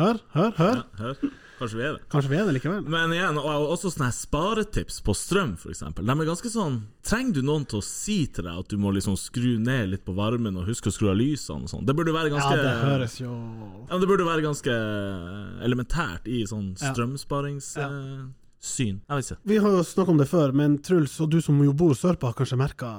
Speaker 3: Hør, hør, hør.
Speaker 2: Hør, Kanskje vi er det.
Speaker 3: Kanskje vi er det likevel.
Speaker 2: Men igjen, og og også sånne her sparetips på strøm, f.eks. De er ganske sånn Trenger du noen til å si til deg at du må liksom skru ned litt på varmen, og huske å skru av lysene og sånn? Det burde være
Speaker 3: Ja,
Speaker 2: ganske
Speaker 3: det høres jo
Speaker 2: Ja, men det burde være ganske eh, elementært i sånn
Speaker 3: Ja. Ja.
Speaker 2: strømsparingssyn. Jeg vet ikke.
Speaker 3: Vi har jo snakka om det før, men Truls og du som jo bor sørpå, har kanskje merka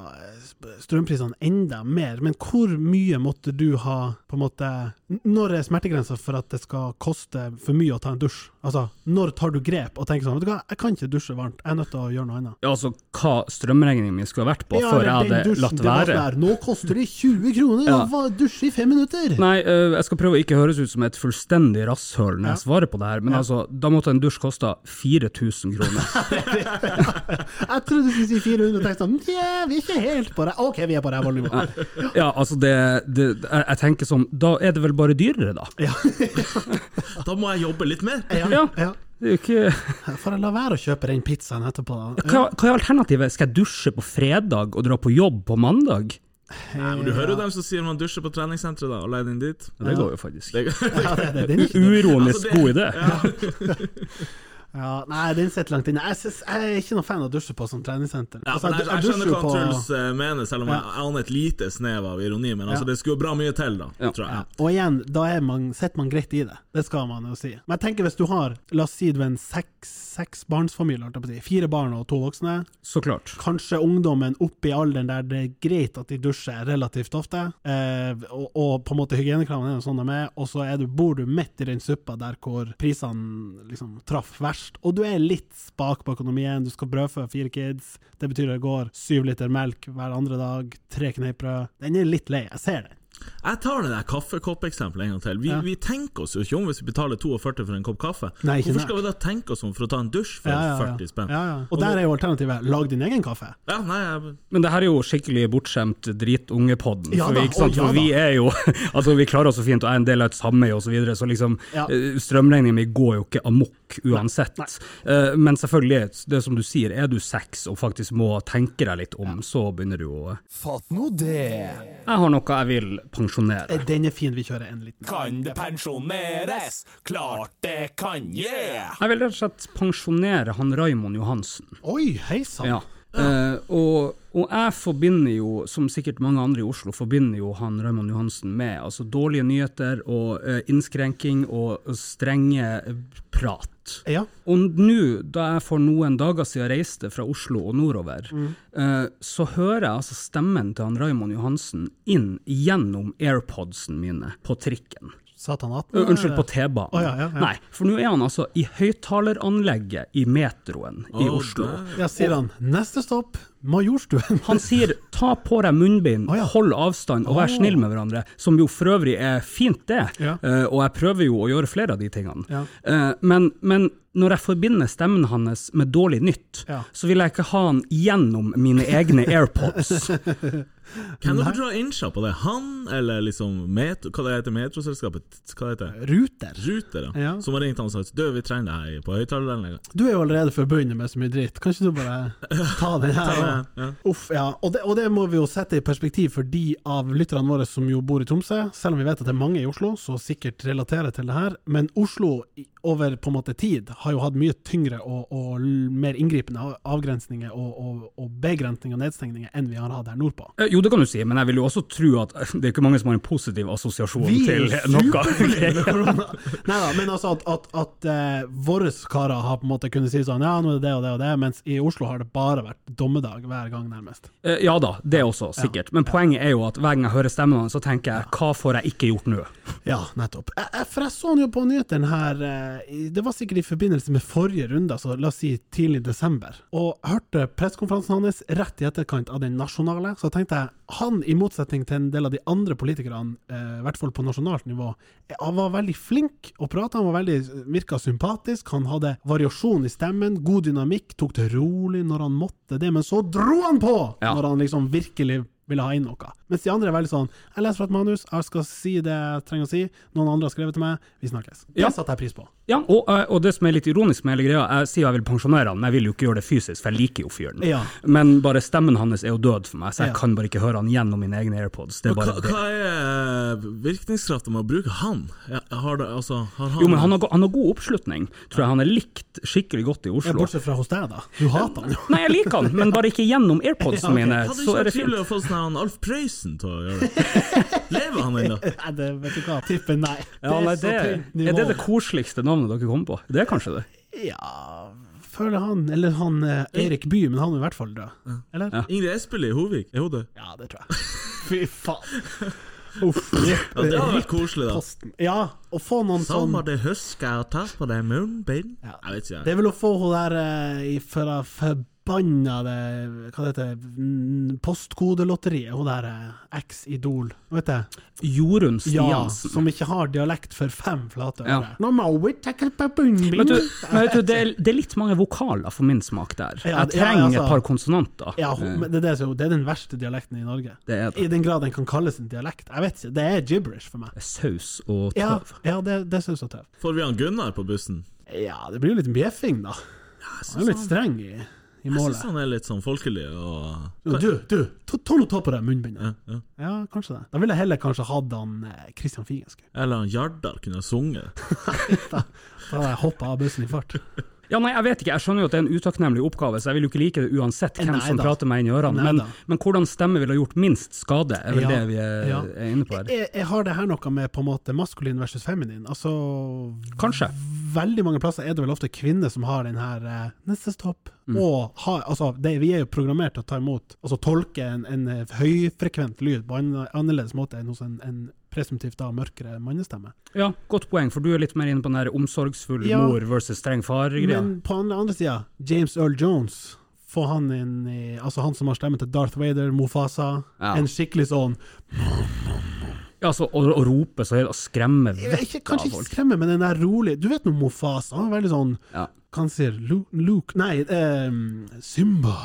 Speaker 3: strømprisene enda mer. Men hvor mye måtte du ha på en måte n- Når er smertegrensa for at det skal koste for mye å ta en dusj? Altså, når tar du grep og tenker sånn Vet du hva, jeg kan ikke dusje varmt, jeg er nødt til å gjøre noe annet.
Speaker 4: Ja, Altså, hva strømregningen min skulle ha vært på
Speaker 3: Ja,
Speaker 4: før
Speaker 3: eller
Speaker 4: jeg
Speaker 3: den
Speaker 4: hadde
Speaker 3: dusjen,
Speaker 4: latt
Speaker 3: det var
Speaker 4: være.
Speaker 3: sånn her, Nå koster det 20 kroner
Speaker 4: Ja.
Speaker 3: å va- dusje i fem minutter!
Speaker 4: Nei, øh, jeg skal prøve å ikke høres ut som et fullstendig rasshøl når jeg svarer på det her, men altså, da måtte en dusj kosta 4000 kroner.
Speaker 3: Jeg trodde du skulle si 400 tekster. sånn, Nja, vi er ikke helt på det. OK, vi er på ræva nivå.
Speaker 4: Ja, altså, det, det jeg, jeg tenker sånn, da er det vel bare dyrere, da?
Speaker 2: Da må jeg jobbe litt mer!
Speaker 4: Ja.
Speaker 3: ja.
Speaker 4: Det er jo ikke
Speaker 3: For å la være å kjøpe den pizzaen etterpå.
Speaker 4: Hva, hva er alternativet? Skal jeg dusje på fredag og dra på jobb på mandag?
Speaker 2: Nei, men du hører jo dem som sier man dusjer på treningssenteret, da, og leier inn dit.
Speaker 4: Ja, det går jo faktisk.
Speaker 3: Ja, det, det, den er ikke dum.
Speaker 4: Uironisk
Speaker 2: Altså, det-
Speaker 4: god idé.
Speaker 3: ja, nei, den sitter langt inne. Jeg, synes, jeg er ikke noen fan av å dusje på som treningssenter.
Speaker 2: Ja,
Speaker 3: Altså,
Speaker 2: men jeg, jeg
Speaker 3: dusjer
Speaker 2: skjønner hva
Speaker 3: på-
Speaker 2: Truls eh, mener, selv om
Speaker 3: Ja.
Speaker 2: jeg jeg aner et lite snev av ironi. Men
Speaker 3: Ja.
Speaker 2: altså, det skulle jo bra mye til, da,
Speaker 4: Ja.
Speaker 2: tror
Speaker 3: ja.
Speaker 2: jeg.
Speaker 3: Og igjen, da er man, sitter man greit i det. Det skal man jo si. Men jeg tenker hvis du har, la oss si du er en seks, seksbarnsfamilie, holdt jeg på å si, fire barn og to voksne,
Speaker 4: Så klart.
Speaker 3: kanskje ungdommen opp i alderen der det er greit at de dusjer relativt ofte, eh, og, og på en måte hygienekravene er jo sånn de er, og så er du, bor du midt i den suppa der hvor prisene liksom traff verst, og du er litt spak på økonomien, du skal brødfø fire kids, det betyr det går syv liter melk hver andre dag, tre kneippbrød, den er litt lei, jeg ser den.
Speaker 2: Jeg tar det der kaffekoppeksempelet en gang til. Vi,
Speaker 3: Ja.
Speaker 2: vi tenker oss jo ikke om hvis vi betaler 42 for en kopp kaffe.
Speaker 3: Nei, ikke
Speaker 2: Hvorfor
Speaker 3: nært.
Speaker 2: skal vi da tenke oss om for å ta en dusj for
Speaker 3: Ja, ja, ja.
Speaker 2: 40 spenn?
Speaker 3: Ja, ja. Og der er jo alternativet, lag din egen kaffe.
Speaker 2: Ja, nei, jeg,
Speaker 4: Men det her er jo skikkelig bortskjemt dritungepodden.
Speaker 3: Ja
Speaker 4: for
Speaker 3: da,
Speaker 4: vi, ikke sant?
Speaker 3: å, ja
Speaker 4: for vi er jo Altså, vi klarer oss så fint, og jeg er en del av et sameie osv., så, videre, så liksom
Speaker 3: Ja.
Speaker 4: eh, Strømregningen min går jo ikke amok uansett. Eh, Men selvfølgelig, det som du sier, er du seks og faktisk må tenke deg litt om, så begynner du å
Speaker 5: Fatt nå det.
Speaker 4: Jeg har noe jeg vil pensjonere.
Speaker 3: Eh, Den er fin, vi kjører en liten.
Speaker 5: Kan det pensjoneres? Klart det kan, yeah!
Speaker 4: Jeg vil rett og slett pensjonere han Raimond Johansen.
Speaker 3: Oi, hei sann.
Speaker 4: Ja. Eh, og, og jeg forbinder jo, som sikkert mange andre i Oslo, forbinder jo han Raymond Johansen med altså dårlige nyheter og eh, innskrenking og strenge eh, prat.
Speaker 3: Ja.
Speaker 4: Og nå, da jeg for noen dager siden reiste fra Oslo og nordover,
Speaker 3: Mm.
Speaker 4: eh, så hører jeg altså stemmen til han Raymond Johansen inn gjennom airpodsen mine på trikken.
Speaker 3: Satan 18.
Speaker 4: Ø, Unnskyld, på T-banen.
Speaker 3: Å, ja, ja, ja.
Speaker 4: Nei, for nå er han altså i høyttaleranlegget i metroen i Oslo.
Speaker 2: der.
Speaker 3: Ja, sier han. Neste stopp, Majorstuen.
Speaker 4: Han sier ta på deg munnbind,
Speaker 3: Å ja.
Speaker 4: hold avstand og vær
Speaker 3: Å.
Speaker 4: snill med hverandre, som jo for øvrig er fint, det.
Speaker 3: Ja.
Speaker 4: Eh, og jeg prøver jo å gjøre flere av de tingene.
Speaker 3: Ja.
Speaker 4: Eh, men, men når jeg forbinder stemmen hans med dårlig nytt,
Speaker 3: Ja.
Speaker 4: så vil jeg ikke ha han gjennom mine egne AirPods. Eh,
Speaker 2: Kan dere dra innsja på det? Han, eller liksom metro, Hva det heter metroselskapet? Hva det heter
Speaker 3: Ruter.
Speaker 2: Ruter, ja.
Speaker 3: Ja.
Speaker 2: Som har ringt han og sagt Du, vi trenger deg her på høyttalerlenga.
Speaker 3: Du er jo allerede forbundet med så mye dritt, kan ikke du bare ta den her? og-
Speaker 2: Ja.
Speaker 3: Uff, ja. Og det, og det må vi jo sette i perspektiv for de av lytterne våre som jo bor i Tromsø, selv om vi vet at det er mange i Oslo som sikkert relaterer til det her. Men Oslo i- over på en måte tid har jo hatt mye tyngre og, og l- mer inngripende av- avgrensninger og, og, og begrensninger og nedstengninger enn vi har hatt her nordpå.
Speaker 4: Eh, Jo, det kan du si, men jeg vil jo også tro at eh, det er ikke mange som har en positiv assosiasjon
Speaker 3: Vi er
Speaker 4: til
Speaker 3: jo
Speaker 4: noe.
Speaker 3: superfornøyde med korona. Neida, men altså at, at, at eh, våre karer har på en måte kunnet si sånn ja, nå er det det og det og det, mens i Oslo har det bare vært dommedag hver gang, nærmest.
Speaker 4: Eh, Ja da, det også, sikkert. Men poenget er jo at hver gang jeg hører stemmen hans, så tenker jeg hva får jeg ikke gjort nå?
Speaker 3: Ja, nettopp. Jeg, jeg, for jeg så han jo på nyhetene her, eh, i- det var sikkert i forbindelse med forrige runde, altså la oss si tidlig desember, og hørte pressekonferansen hans rett i etterkant av den nasjonale, så tenkte jeg, han i motsetning til en del av de andre politikerne, eh, i hvert fall på nasjonalt nivå, eh, han var veldig flink å prate, han var veldig, virka sympatisk, han hadde variasjon i stemmen, god dynamikk, tok det rolig når han måtte det, men så dro han på
Speaker 4: Ja.
Speaker 3: når han liksom virkelig ville ha inn noe. Mens de andre er veldig sånn Jeg leser fra et manus, jeg skal si det jeg trenger å si, noen andre har skrevet til meg, vi snakkes. Det
Speaker 4: Ja.
Speaker 3: satte jeg pris på.
Speaker 4: Ja, og, eh, og det som er litt ironisk med hele greia, jeg sier jeg vil pensjonere han, men jeg vil jo ikke gjøre det fysisk, for jeg liker jo fyren.
Speaker 3: Ja.
Speaker 4: Men bare stemmen hans er jo død for meg, så jeg
Speaker 3: Ja.
Speaker 4: kan bare ikke høre han gjennom mine egne AirPods. Det er
Speaker 2: Hva,
Speaker 4: bare det.
Speaker 2: hva er virkningskraften med å bruke han? Ja, Har, det, altså, har han
Speaker 4: Jo, men han har, go- han har god oppslutning. Tror jeg han er likt skikkelig godt i
Speaker 3: Ja,
Speaker 4: Oslo.
Speaker 3: bortsett fra hos deg, da. Du hater han jo.
Speaker 4: Nei, jeg liker han, men bare ikke gjennom
Speaker 3: Ja, ok.
Speaker 4: AirPodsene mine,
Speaker 2: Hadde det ikke
Speaker 4: så er
Speaker 2: vært
Speaker 4: det fint.
Speaker 2: trivelig å få sånn han Alf Prøysen til å gjøre det? Lever han ennå?
Speaker 3: Nei, det vet du hva. Tipper nei.
Speaker 4: Ja, nei, det,
Speaker 3: nivå.
Speaker 4: er det det koseligste navnet dere kommer på? Det er kanskje det.
Speaker 3: Ja Føler han Eller han eh, Erik Bye, men han er i hvert fall død. Eller?
Speaker 2: Ingrid Espelid i Hovik, er hun død?
Speaker 3: Ja, det tror jeg. Fy faen. Uff. Ripp,
Speaker 2: Ja, det hadde vært koselig, da.
Speaker 3: posten. Ja, å få noen sånn
Speaker 2: det husker å ta på deg munnbind
Speaker 3: Ja.
Speaker 2: Jeg vet ikke,
Speaker 3: Det
Speaker 2: jeg.
Speaker 3: er vel å få hun der eh, i- fra forbannede Hva det heter mm, Postkodelotteriet. Hun der eh, eks-idol. Vet du?
Speaker 4: Jorunn
Speaker 3: Ja,
Speaker 4: Stiansen.
Speaker 3: som ikke har dialekt for fem flate
Speaker 4: Ja.
Speaker 3: øre. Nå må vi tenke på bunnbind.
Speaker 4: Men vet du, men vet du det, er, det er litt mange vokaler for min smak der.
Speaker 3: Ja,
Speaker 4: Jeg
Speaker 3: ja,
Speaker 4: trenger
Speaker 3: altså.
Speaker 4: et par konsonanter. Eh,
Speaker 3: Ja, hun, men det, er det, som- det er den verste dialekten i Norge.
Speaker 4: Det er det.
Speaker 3: I den grad den kan kalles en dialekt. Jeg vet ikke, det er gibberish for meg.
Speaker 4: Saus og
Speaker 3: Ja,
Speaker 4: tøv.
Speaker 3: ja det, det syns jeg er tøv.
Speaker 2: Får vi han Gunnar på bussen?
Speaker 3: Ja, det blir jo litt bjeffing, da. Han er jo litt
Speaker 4: sånn.
Speaker 3: streng i, i
Speaker 2: Jeg syns
Speaker 3: målet.
Speaker 2: han er litt sånn folkelig og
Speaker 4: sånn.
Speaker 3: Du, du, ta ta nå ta på deg munnbindet.
Speaker 2: ja, ja.
Speaker 3: Ja, kanskje det. Da ville jeg heller kanskje hatt han eh, Christian Figensk.
Speaker 2: Eller han Jardar kunne ha sunget.
Speaker 3: Da hadde jeg hoppa av bussen i fart.
Speaker 4: Ja, nei, jeg vet ikke. Jeg skjønner jo at det er en utakknemlig oppgave, så jeg vil jo ikke like det uansett hvem
Speaker 3: Nei
Speaker 4: som
Speaker 3: da.
Speaker 4: prater meg inn i ørene.
Speaker 3: Nei
Speaker 4: Men,
Speaker 3: da.
Speaker 4: men hvordan stemme ville ha gjort minst skade, er vel
Speaker 3: Ja,
Speaker 4: det vi er,
Speaker 3: ja.
Speaker 4: er inne på her.
Speaker 3: Jeg, jeg har det her noe med på en måte maskulin versus feminin. Altså,
Speaker 4: Kanskje.
Speaker 3: veldig mange plasser er det vel ofte kvinner som har den her eh, 'neste stopp'.
Speaker 4: Mm.
Speaker 3: Og ha, altså, det, vi er jo programmert til å ta imot, altså tolke en, en eh, høyfrekvent lyd på en annerledes måte enn hos en, en presumptivt da mørkere mannestemme.
Speaker 4: Ja, godt poeng, for du er litt mer inne på den der omsorgsfull
Speaker 3: Ja.
Speaker 4: mor versus streng far-greia.
Speaker 3: Men på den andre sida, James Earl Jones Få han inn i Altså han som har stemmen til Darth Vader, Mofasa.
Speaker 4: Ja.
Speaker 3: En skikkelig sånn
Speaker 4: Ja, altså, å, å rope så høyt og skremme
Speaker 3: ikke,
Speaker 4: vettet av
Speaker 3: Kanskje ikke
Speaker 4: folk.
Speaker 3: skremme, men den der rolig Du vet nå Mofasa, han er veldig sånn
Speaker 4: Ja.
Speaker 3: Kan si Lu- Luke Nei, ehm, Simba.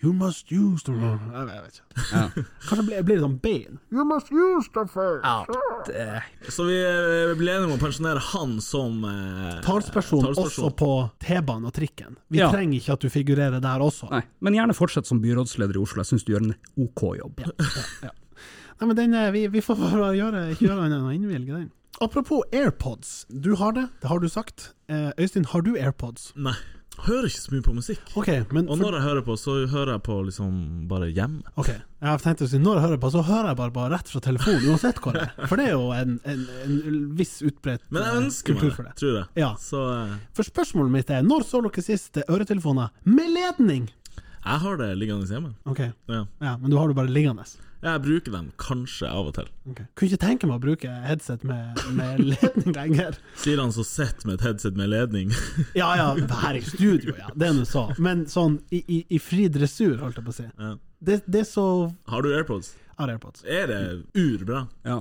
Speaker 3: You must use the road Jeg vet- jeg vet ikke. Kanskje blir, blir det sånn Bane. You must use the face.
Speaker 4: Ja, det-
Speaker 2: Så vi eh, ble enige om å pensjonere han som eh,
Speaker 3: Talsperson
Speaker 2: talsperson.
Speaker 3: også på T-banen og trikken. Vi
Speaker 4: Ja.
Speaker 3: trenger ikke at du figurerer der også.
Speaker 4: Nei, men gjerne fortsett som byrådsleder i Oslo, jeg syns du gjør en OK jobb.
Speaker 3: Nei, men den, eh, vi, vi får bare gjøre, ikke gjøre annet enn å innvilge den. Apropos AirPods. Du har det, det har du sagt. Eh, Øystein, har du AirPods?
Speaker 2: Nei. Hører ikke så mye på musikk.
Speaker 3: OK, men
Speaker 2: Og når jeg hører på, så hører jeg på liksom bare hjemme.
Speaker 3: Ok, jeg tenkte å si når jeg hører på, så hører jeg bare, bare rett fra telefonen, uansett hvor jeg er. For det er jo en, en, en viss utbredt
Speaker 2: Men
Speaker 3: eh,
Speaker 2: jeg ønsker meg
Speaker 3: kultur for
Speaker 2: det,
Speaker 3: det.
Speaker 2: tror jeg.
Speaker 3: Ja.
Speaker 2: Så eh,
Speaker 3: For spørsmålet mitt er, når så dere sist eh, øretelefoner med ledning?
Speaker 2: Jeg har det liggende hjemme.
Speaker 3: Ok,
Speaker 2: Ja.
Speaker 3: ja, Men du har det bare liggende?
Speaker 2: Jeg bruker dem kanskje av og til.
Speaker 3: Ok. Kunne ikke tenke meg å bruke headset med, med ledning lenger.
Speaker 2: Sier han som sitter med et headset med ledning.
Speaker 3: Ja ja, her i studio, ja. Det er nå så. Men sånn i, i, i fri dressur, holdt jeg på å si.
Speaker 2: Ja.
Speaker 3: Det, det er så
Speaker 2: Har du AirPods?
Speaker 3: Har AirPods.
Speaker 2: Er det urbra?
Speaker 4: Ja.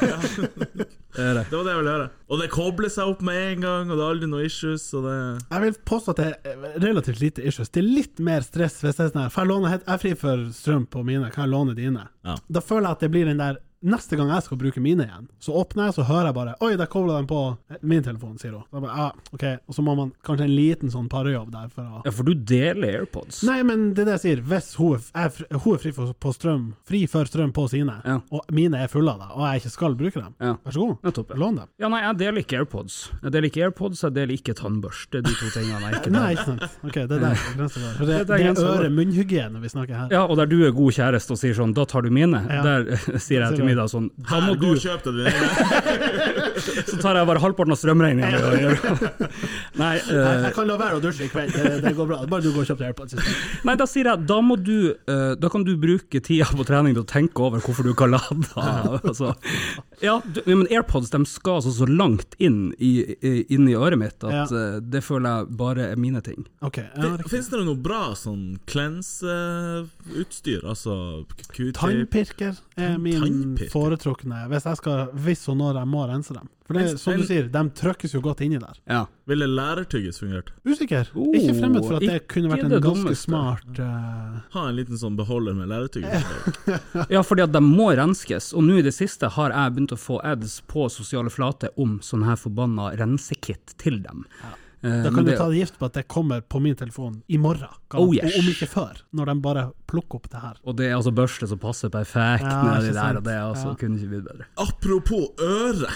Speaker 2: Det er det. Det var det jeg ville høre. Og det kobler seg opp med en gang, og det er aldri noe issues, og det
Speaker 3: Jeg vil påstå at det er relativt lite issues. Det er litt mer stress hvis det er sånn her. Får jeg låne head- Jeg er fri for strøm på mine, kan jeg låne dine?
Speaker 2: Ja.
Speaker 3: Da føler jeg at det blir den der Neste gang jeg skal bruke mine igjen, så åpner jeg, så hører jeg bare Oi, der kobla den på min telefon, sier hun. Da bare, ja, ok. Og så må man kanskje en liten sånn parjobb der for å
Speaker 4: ja, for du deler AirPods.
Speaker 3: Nei, men det er det jeg sier. Hvis hun er, f- er, fr- hun er fri, for, på strøm, fri for strøm på sine,
Speaker 4: Ja.
Speaker 3: og mine er fulle av det, og jeg ikke skal bruke dem,
Speaker 4: Ja.
Speaker 3: vær så god,
Speaker 4: Nettopp.
Speaker 3: lån dem.
Speaker 4: Ja, nei, jeg deler ikke AirPods. Jeg deler ikke AirPods, jeg deler ikke tannbørste. De to tingene er ikke
Speaker 3: Nei,
Speaker 4: der.
Speaker 3: ikke sant. Ok, det er der grensa går. For Det,
Speaker 4: Det er
Speaker 3: det
Speaker 4: der
Speaker 3: er
Speaker 4: grensen går.
Speaker 3: øre-munnhygiene vi snakker her.
Speaker 4: Ja, og der du er god kjæreste og sier sånn 'da tar du mine',
Speaker 3: Ja.
Speaker 4: der sier jeg til middag sånn 'da
Speaker 2: Her,
Speaker 4: må
Speaker 2: gå
Speaker 4: du
Speaker 2: og kjøp deg dine egne.
Speaker 4: Så tar jeg bare halvparten av strømregninga. Nei,
Speaker 3: Jeg,
Speaker 4: eh,
Speaker 3: jeg kan la være å dusje i kveld, Eh, det, det går bra. Bare du går og kjøper AirPods. i stedet.
Speaker 4: nei, da sier jeg da må du eh, Da kan du bruke tida på trening til å tenke over hvorfor du ikke har lada. Altså, ja, du, men AirPods de skal altså så langt inn i, i- inn i øret mitt at
Speaker 3: Ja.
Speaker 4: eh, det føler jeg bare er mine ting.
Speaker 3: Ok, ja, riktig.
Speaker 2: Fins det noe bra sånn cleanse-utstyr? Altså q-tip
Speaker 3: Tannpirker er min
Speaker 2: Tannpirker?
Speaker 3: foretrukne hvis jeg skal Hvis og når jeg må rense dem. For det, er som du sier, de trykkes jo godt inni der.
Speaker 4: Ja.
Speaker 2: Ville lærertyggis fungert?
Speaker 3: Usikker.
Speaker 4: Oh,
Speaker 3: Ikke fremmed for at det
Speaker 4: ikke
Speaker 3: kunne vært en
Speaker 4: det
Speaker 3: ganske
Speaker 4: dummeste.
Speaker 3: smart eh,
Speaker 2: Ha en liten sånn beholder med lærertyggis. bare.
Speaker 4: Ja, fordi at de må renskes, og nå i det siste har jeg begynt å få ads på sosiale flater om sånn her forbanna rensekit til dem. Eh,
Speaker 3: Da
Speaker 4: men
Speaker 3: kan du
Speaker 4: det-
Speaker 3: ta gift på at det kommer på min telefon i morgen, kan,
Speaker 4: Oh, yes.
Speaker 3: og om ikke før, når de bare plukker opp det her.
Speaker 4: Og det er altså børste som passer perfekt
Speaker 3: Ja,
Speaker 4: nedi
Speaker 3: ikke
Speaker 4: der,
Speaker 3: sant.
Speaker 4: og det er altså,
Speaker 3: Ja.
Speaker 4: kunne ikke blitt bedre.
Speaker 2: Apropos øre.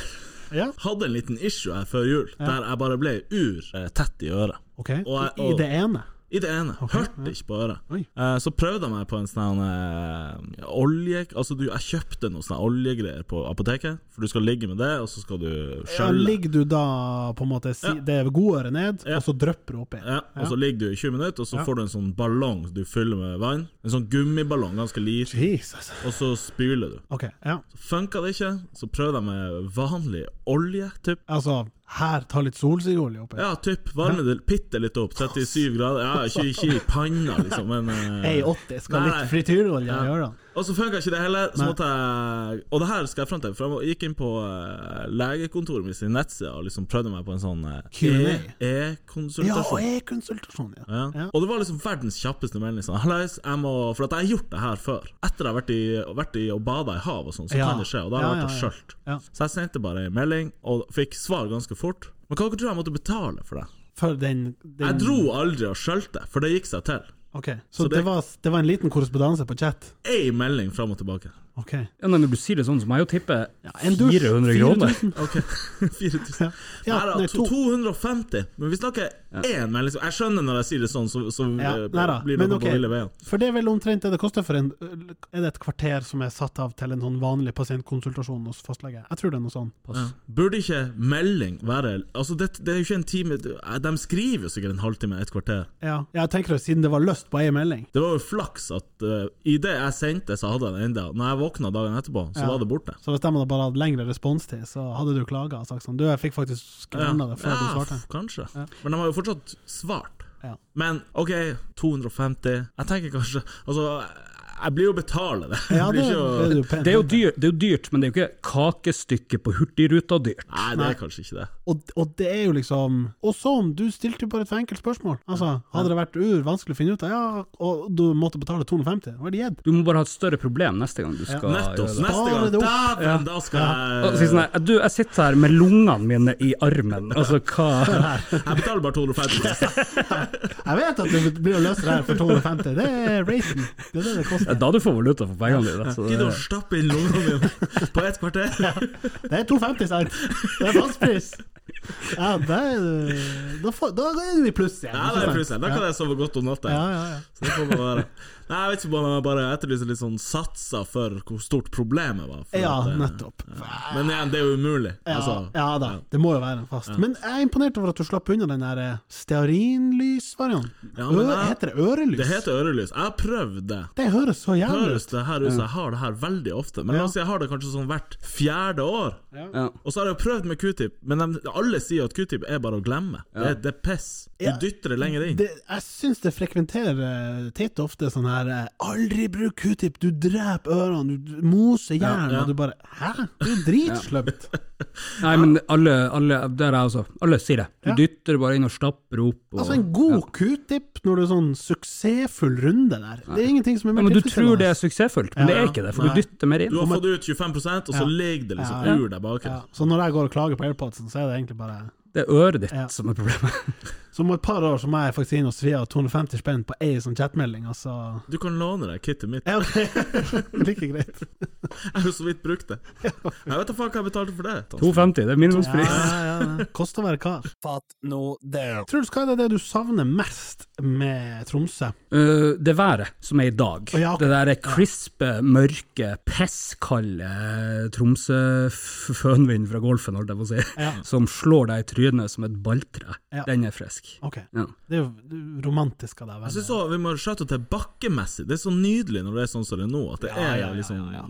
Speaker 3: Ja,
Speaker 2: Hadde en liten issue her før jul, der jeg bare ble ur eh, tett i øret.
Speaker 3: ok. I,
Speaker 2: Og jeg-
Speaker 3: I det ene.
Speaker 2: I det ene. Hørte ikke på øret.
Speaker 3: Oi.
Speaker 2: Eh, så prøvde jeg meg på en sånn eh, olje... Altså, du, jeg kjøpte noe sånn oljegreier på apoteket, for du skal ligge med det, og så skal du
Speaker 3: Ja,
Speaker 2: skjølle.
Speaker 3: ligger du da på en måte si,
Speaker 2: Ja.
Speaker 3: Det er godøret ned,
Speaker 2: Ja.
Speaker 3: og så drypper du oppi?
Speaker 2: Ja, og så ligger du i 20 minutter, og så
Speaker 3: Ja.
Speaker 2: får du en sånn ballong du fyller med vann. En sånn gummiballong, ganske liten,
Speaker 3: Jesus.
Speaker 2: og så spyler du.
Speaker 3: Ok, ja.
Speaker 2: Så funka det ikke, så prøvde jeg med vanlig olje, typ.
Speaker 3: Altså, her, ta litt solsikkeolje oppi.
Speaker 2: Ja, typ. Varme det bitte litt opp, 37 grader. Ja, ikke, ikke i panna, liksom, men eh,
Speaker 3: 1,80 skal
Speaker 2: Nei, nei.
Speaker 3: litt frityrolje
Speaker 2: Ja.
Speaker 3: i ørene.
Speaker 2: Og så funka ikke det heller, så
Speaker 3: Nei.
Speaker 2: måtte jeg Og det her skal jeg fram til, for jeg gikk inn på eh, legekontoret mitt sin nettside og liksom prøvde meg på en sånn eh,
Speaker 3: Q&A.
Speaker 2: E-
Speaker 3: Ja,
Speaker 2: e-konsultasjon.
Speaker 3: e-konsultasjon, ja.
Speaker 2: Ja.
Speaker 3: Ja.
Speaker 2: Og det var liksom verdens kjappeste melding. Sånn, Hallais, jeg må For at jeg har gjort det her før. Etter jeg har vært i, vært i og bada i hav og sånn, så
Speaker 3: Ja.
Speaker 2: kan det skje. Og da har
Speaker 3: Ja,
Speaker 2: jeg vært og
Speaker 3: ja, ja.
Speaker 2: skjølt.
Speaker 3: Ja.
Speaker 2: Så jeg sendte bare en melding, og fikk svar ganske fort. Men hva dere tror jeg måtte betale for det?
Speaker 3: For den, den
Speaker 2: Jeg dro aldri og skjølte, for det gikk seg til.
Speaker 3: Ok, så,
Speaker 2: Så
Speaker 3: det,
Speaker 2: det-
Speaker 3: var, det var en liten korrespondanse på chat?
Speaker 2: Ei melding fram og tilbake.
Speaker 3: Ok.
Speaker 4: Ja, nei, når du sier det sånn, så må jeg jo tippe
Speaker 3: en dusj.
Speaker 4: 400 kroner.
Speaker 3: 4000.
Speaker 2: Ok, 4000.
Speaker 3: Ja,
Speaker 2: Nei da,
Speaker 3: nei,
Speaker 2: to-
Speaker 3: to.
Speaker 2: 250. Men vi snakker én melding. så Jeg skjønner når jeg sier det sånn, så, så
Speaker 3: Ja,
Speaker 2: eh,
Speaker 3: nei da,
Speaker 2: blir det
Speaker 3: men
Speaker 2: noe
Speaker 3: ok.
Speaker 2: på ville veien.
Speaker 3: For det er vel omtrent det det koster for en Er det et kvarter som er satt av til en sånn vanlig pasientkonsultasjon hos fastlege? Jeg tror det er noe sånn.
Speaker 4: Pass.
Speaker 2: Burde ikke melding være Altså, det, det er jo ikke en time du- eh, De skriver jo sikkert en halvtime, et kvarter.
Speaker 3: Ja. Jeg tenker at siden det var løst på ei melding
Speaker 2: Det var jo flaks at uh, i det jeg sendte, så hadde jeg det enda. Når jeg våkna dagen etterpå, så
Speaker 3: Ja.
Speaker 2: var det borte.
Speaker 3: så hvis de hadde bare hatt lengre responstid, så hadde du klaga og sagt sånn Du, jeg fikk faktisk skranna det før du svarte.
Speaker 2: f- kanskje. Men de har jo fortsatt svart.
Speaker 3: Ja.
Speaker 2: Men OK, 250 Jeg tenker kanskje Altså, jeg blir jo betaler det. Jeg
Speaker 3: Ja, det,
Speaker 2: blir ikke å-
Speaker 3: det er jo pent.
Speaker 4: Det er, jo dyr, det er jo dyrt, men det er jo ikke kakestykket på Hurtigruta dyrt.
Speaker 2: Nei, det er kanskje ikke det.
Speaker 3: Og, og det er jo liksom Og sånn, du stilte jo bare et for enkelt spørsmål. Altså, hadde det vært ur vanskelig å finne ut av, ja, og du måtte betale 250, hva er det gitt?
Speaker 4: Du må bare ha et større problem neste gang du skal
Speaker 2: Nettopp.
Speaker 4: gjøre Ah, det.
Speaker 2: Neste
Speaker 3: Spare
Speaker 2: gang,
Speaker 3: det opp.
Speaker 2: dæven, da skal
Speaker 4: Og si
Speaker 2: jeg
Speaker 4: sånn her, du, jeg sitter her med lungene mine i armen, altså hva
Speaker 2: Jeg betaler bare 250.
Speaker 3: Jeg vet at det blir å løse det her for 250, det er racen. Det er det det
Speaker 4: Ja,
Speaker 3: koster.
Speaker 4: Da du får valuta for pengene dine. Så
Speaker 2: Gidder å
Speaker 4: det,
Speaker 2: stappe inn lungene mine på et kvarter.
Speaker 3: Det er 250, sant? Det er fastpris. Ja, det er, da, får, da er du i pluss igjen.
Speaker 2: Ja,
Speaker 3: ikke
Speaker 2: det er
Speaker 3: sant?
Speaker 2: plutselig. Da kan jeg sove godt om natta.
Speaker 3: Ja, ja, ja.
Speaker 2: Så det får bare være. Nei, jeg vet ikke om jeg bare etterlyser litt sånn satser for hvor stort problemet var. For
Speaker 3: Ja,
Speaker 2: at, eh,
Speaker 3: nettopp.
Speaker 2: Men igjen, det er jo umulig.
Speaker 3: Ja,
Speaker 2: altså,
Speaker 3: ja da, det må jo være en fast. Men jeg er imponert over at du slapp unna den der eh, stearinlysvarianten.
Speaker 2: Ja, men
Speaker 3: Ø-
Speaker 2: jeg-
Speaker 3: heter det ørelys?
Speaker 2: Det heter ørelys. Jeg har prøvd det.
Speaker 3: Det høres så jævlig
Speaker 2: Høres
Speaker 3: ut.
Speaker 2: det her ut som jeg har det her veldig ofte, men la oss si jeg har det kanskje sånn hvert fjerde år.
Speaker 4: Ja.
Speaker 2: Og så har jeg jo prøvd med q-tip, men de, alle sier at q-tip er bare å glemme. Det, er- det er piss. Du
Speaker 3: Ja.
Speaker 2: dytter det lenger inn.
Speaker 3: Det, jeg syns det frekventerer eh, titt og ofte sånn her eh, Aldri bruk q-tip, du dreper ørene, du du moser jern,
Speaker 2: ja.
Speaker 3: og du bare Hæ? Det er jo dritslømt.
Speaker 4: Nei, men alle, alle der er jeg også. Alle sier det. Du
Speaker 3: Ja.
Speaker 4: dytter bare inn og stapper opp. Og,
Speaker 3: Altså, en god q-tip når du er sånn suksessfull runde der, det er ingenting som er
Speaker 4: ja,
Speaker 3: mer
Speaker 4: men Du tror
Speaker 3: tilfredsstillende.
Speaker 4: det er suksessfullt, men det er ikke det, for du dytter mer
Speaker 2: Du
Speaker 4: inn.
Speaker 2: har fått ut 25 og så
Speaker 3: Ja.
Speaker 2: ligger det liksom
Speaker 3: Ja.
Speaker 2: ur deg baki.
Speaker 3: Ja, så når jeg går og klager på airpodsen, så er det egentlig bare
Speaker 4: Det er øret ditt
Speaker 3: Ja.
Speaker 4: som er problemet.
Speaker 3: Så om et par år så må jeg faktisk inn og svi av 250 spenn på ei sånn chatmelding, altså.
Speaker 2: Du kan låne deg kittet mitt.
Speaker 3: Ja, ok. Like greit.
Speaker 2: Jeg har jo så vidt brukt det. Jeg vet da faen hva jeg betalte for det. Tom.
Speaker 4: 250, det er
Speaker 3: Ja,
Speaker 4: minimumspris.
Speaker 3: ja, ja. Kost å være kar.
Speaker 5: Fatt nå det.
Speaker 3: Truls, hva er det du savner mest med Tromsø?
Speaker 4: Uh, det været som er i dag,
Speaker 3: Å, ja, ok.
Speaker 4: det der crispe, mørke, presskalde eh, Tromsø-fønvind fra Golfen, holdt jeg på å si,
Speaker 3: Ja.
Speaker 4: som slår deg i trynet som et balltre,
Speaker 3: Ja.
Speaker 4: den er frisk.
Speaker 3: Ok,
Speaker 4: Ja.
Speaker 3: det er jo romantisk av deg.
Speaker 2: Jeg
Speaker 3: vel?
Speaker 2: synes også Vi må skjøte til bakkemessig. Det er så nydelig når det er sånn som det er nå, at det
Speaker 3: Ja,
Speaker 2: er
Speaker 3: ja, ja,
Speaker 2: liksom
Speaker 3: ja,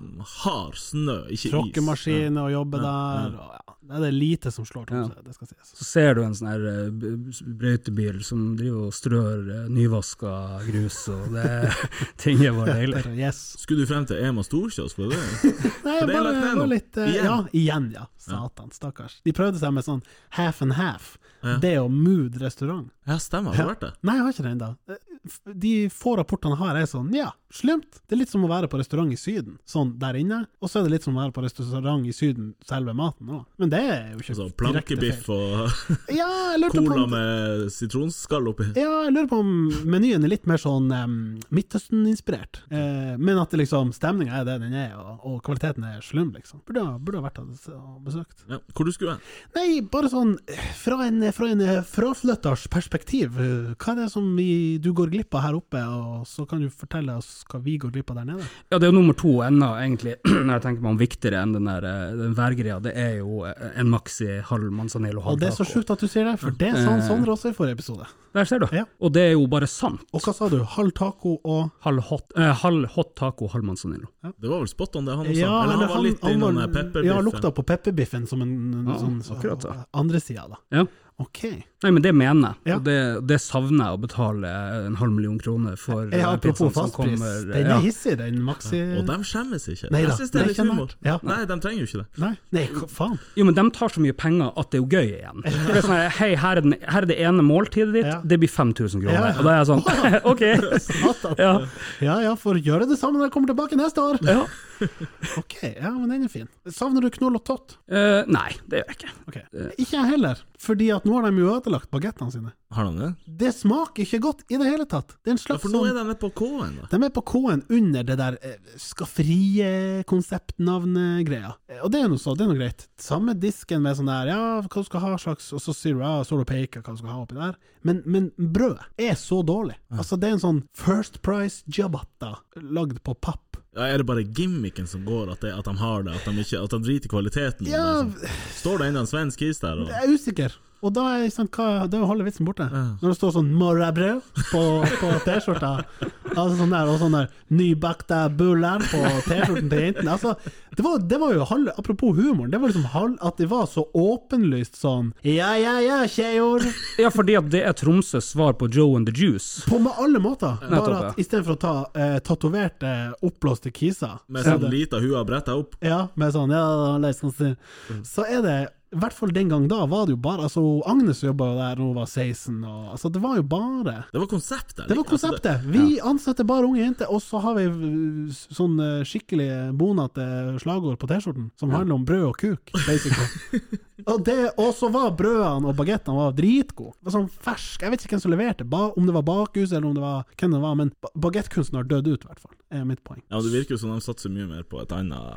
Speaker 2: hard snø, ikke is.
Speaker 3: Tråkkemaskin og jobbe der, og ja. Nei, Det er lite som slår Tromsø, det skal sies.
Speaker 4: Så ser du en sånn her eh, b- b- brøytebil som driver og strør eh, nyvaska grus, og det ting er bare deilig.
Speaker 3: Better, Yes.
Speaker 2: Skulle du frem til Ema Storkjøs for det?
Speaker 3: Nei,
Speaker 2: For det er
Speaker 3: bare
Speaker 2: lagt ned
Speaker 3: var
Speaker 2: nå.
Speaker 3: litt eh,
Speaker 2: Igjen.
Speaker 3: Ja, igjen, ja. Satan, stakkars. De prøvde seg med sånn half and half.
Speaker 2: Ja.
Speaker 3: Det og Mood restaurant.
Speaker 2: Ja, stemmer. Har du vært det?
Speaker 3: Nei, jeg har ikke det ennå. De få rapportene jeg har, er sånn ja, slemt. Det er litt som å være på restaurant i Syden, sånn der inne. Og så er det litt som å være på restaurant i Syden, selve maten òg. Men det er jo ikke
Speaker 2: Altså,
Speaker 3: direkte feil.
Speaker 2: plankebiff og
Speaker 3: Ja, jeg lurte på
Speaker 2: cola
Speaker 3: om,
Speaker 2: med sitronskall oppi.
Speaker 3: ja, jeg lurer på om menyen er litt mer sånn em, Midtøsten-inspirert. Eh, men at det liksom stemninga er det den er, og, og kvaliteten er slum, liksom. Burde ha- burde ha vært og besøkt.
Speaker 2: Ja, hvor du skulle hen?
Speaker 3: Nei, bare sånn fra en, fra en fraflytters perspektiv, eh, hva er det som vi, du går glipp av her oppe, og så kan du fortelle oss hva vi går glipp av der nede?
Speaker 4: Ja, det er jo nummer to ennå, egentlig, når jeg tenker meg om viktigere enn den der eh, den værgreia. Det er jo eh, en maxi halv manzanello halv
Speaker 3: Og det er så
Speaker 4: taco.
Speaker 3: sjukt at du sier det, for det sa han Sondre også i forrige episode.
Speaker 4: Der ser du.
Speaker 3: Ja.
Speaker 4: Og det er jo bare sant.
Speaker 3: Og hva sa du? Halv taco og
Speaker 4: Halv hot, eh, halv hot taco, halv manzanello.
Speaker 2: Det var vel spot on, det han også. Eller han
Speaker 3: eller
Speaker 2: var litt
Speaker 3: han
Speaker 2: innom
Speaker 3: var-
Speaker 2: den pepperbiffen.
Speaker 3: Ja, lukta på pepperbiffen som en, en
Speaker 4: eh, Ja,
Speaker 3: sånn
Speaker 4: akkurat da.
Speaker 3: andre sida, da.
Speaker 4: Ja.
Speaker 3: Ok.
Speaker 4: Nei, men det mener jeg,
Speaker 3: Ja.
Speaker 4: og det, det savner jeg å betale eh, en halv million kroner for. eh,
Speaker 3: Ja, apropos
Speaker 4: pizzaen som
Speaker 3: fastpris,
Speaker 4: kommer, eh,
Speaker 3: den
Speaker 4: ja.
Speaker 3: er hissig, den maxi...
Speaker 2: Og de skjemmes ikke.
Speaker 3: Nei da,
Speaker 2: jeg synes det
Speaker 3: det
Speaker 2: er
Speaker 3: er
Speaker 2: litt
Speaker 3: ikke
Speaker 2: humor.
Speaker 3: nært. Ja.
Speaker 2: Nei, de trenger jo ikke det.
Speaker 3: Nei, nei, hva faen.
Speaker 4: Jo, men de tar så mye penger at det er jo gøy igjen. For det er sånn, Hei, her er, den, her er det ene måltidet ditt,
Speaker 3: Ja.
Speaker 4: det blir 5000 kroner.
Speaker 3: Ja.
Speaker 4: Og da er jeg sånn, ok.
Speaker 3: Satan.
Speaker 4: Ja.
Speaker 3: Ja ja, får gjøre det samme når jeg kommer tilbake neste år.
Speaker 4: Ja.
Speaker 3: Ok, ja, men den er fin. Savner du knoll og tott?
Speaker 4: Eh, nei, det gjør jeg ikke.
Speaker 3: Ok. Ikke jeg heller, fordi at nå har de jo ødelagt bagettene sine.
Speaker 2: Har de det?
Speaker 3: Det smaker ikke godt i det hele tatt. Det er en
Speaker 2: Ja,
Speaker 3: slags
Speaker 2: for nå
Speaker 3: sånn
Speaker 2: er de nede på K-en, da.
Speaker 3: de er på K-en under det der eh, skafferiekonseptnavn-greia. Eh, Og det er noe så, det er noe greit. Samme disken med sånn der, ja, hva du skal ha slags, og så sier du, ja, så står du og peker hva du skal ha oppi der. Men, men brødet er så dårlig. Altså, det er en sånn First Price ciabatta lagd på papp.
Speaker 2: Ja, er det bare gimmicken som går, at, det, at de har det? At de, ikke, at de driter i kvaliteten? og
Speaker 3: Ja,
Speaker 2: bare sånn. Står det ennå en svensk is der? Og...
Speaker 3: Jeg er usikker. Og da er sant, hva, da holder vitsen borte. Når det står sånn 'morrabrød' på, på T-skjorta, altså sånn der, og sånn der 'nybakte buller' på T-skjorten til jentene altså, det, var, det var jo halv, Apropos humoren, det var liksom halv, at det var så åpenlyst sånn 'ja, ja, ja, kjeor',
Speaker 4: Ja, fordi at det er Tromsøs svar på Joe and the Juice.
Speaker 3: på med alle måter.
Speaker 4: Nettopp,
Speaker 3: Bare
Speaker 4: ja.
Speaker 3: at istedenfor å ta eh, tatoverte, oppblåste kiser
Speaker 2: Med
Speaker 3: så er
Speaker 2: sånn
Speaker 3: det-
Speaker 2: lita hua bretta opp?
Speaker 3: Ja, med sånn ja, leis, kan si. Så er det i hvert fall den gang da var det jo bare altså Agnes jobba jo der da hun var 16, og altså det var jo bare
Speaker 2: Det var konseptet.
Speaker 3: Det var
Speaker 2: liksom. Altså,
Speaker 3: konseptet! Vi ansetter bare unge jenter, og så har vi uh, sånn uh, skikkelig bonete slagord på T-skjorten som handler om brød og kuk, basically. og, det, og så var brødene og bagettene var dritgode. Det var Sånn fersk Jeg vet ikke hvem som leverte, ba, om det var Bakhus eller om det var hvem det var, men ba- bagettkunsten har dødd ut, i hvert fall, er mitt poeng.
Speaker 2: Ja, men Det virker jo som de satser mye mer på et annet
Speaker 3: Ja,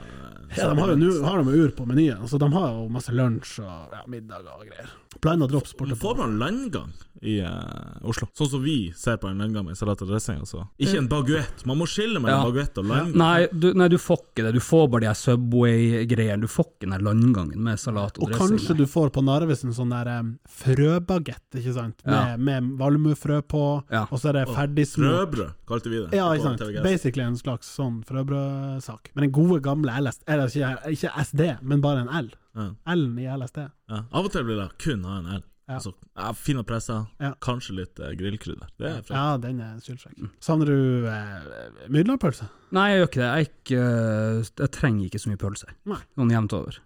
Speaker 3: Altså, de har jo, nå har de jo ur på menyen, så de har jo masse lønn lunsj og ja, middag og greier. Blanda drops borte på
Speaker 2: Får man landgang i eh, Oslo? Sånn som vi ser på en landgang med salat og dressing. Altså. Ikke
Speaker 3: Eh,
Speaker 2: en baguett. Man må skille mellom
Speaker 4: Ja.
Speaker 2: baguett og landgang.
Speaker 4: Nei du, nei, du får ikke det. Du får bare de her Subway-greiene. Du får ikke den her landgangen med salat og,
Speaker 3: Og
Speaker 4: dressing.
Speaker 3: kanskje du får på Narvesen sånn der um, frøbagett, ikke sant?
Speaker 4: Ja.
Speaker 3: Med, med valmuefrø på,
Speaker 4: Ja.
Speaker 3: og så er det ferdig smurt.
Speaker 2: Frøbrød, kalte vi det.
Speaker 3: Ja,
Speaker 2: på
Speaker 3: ikke sant.
Speaker 2: TVGS.
Speaker 3: Basically en slags sånn frøbrødsak. Men den gode gamle LSD, eller ikke, ikke SD, men bare en L.
Speaker 2: Ja.
Speaker 3: L-en i LSD.
Speaker 2: Ja. Av og til blir det kun ha en L.
Speaker 3: Ja.
Speaker 2: Altså, ja, Fine presser,
Speaker 3: Ja.
Speaker 2: kanskje litt eh, grillkrydder. Det er frekt.
Speaker 3: Ja, den er sylfrekk. Savner du eh, Myrlandpølse?
Speaker 4: Nei, jeg gjør ikke det. Jeg, er ikke, eh, jeg trenger ikke så mye pølser.
Speaker 3: Nei.
Speaker 4: Sånn jevnt over.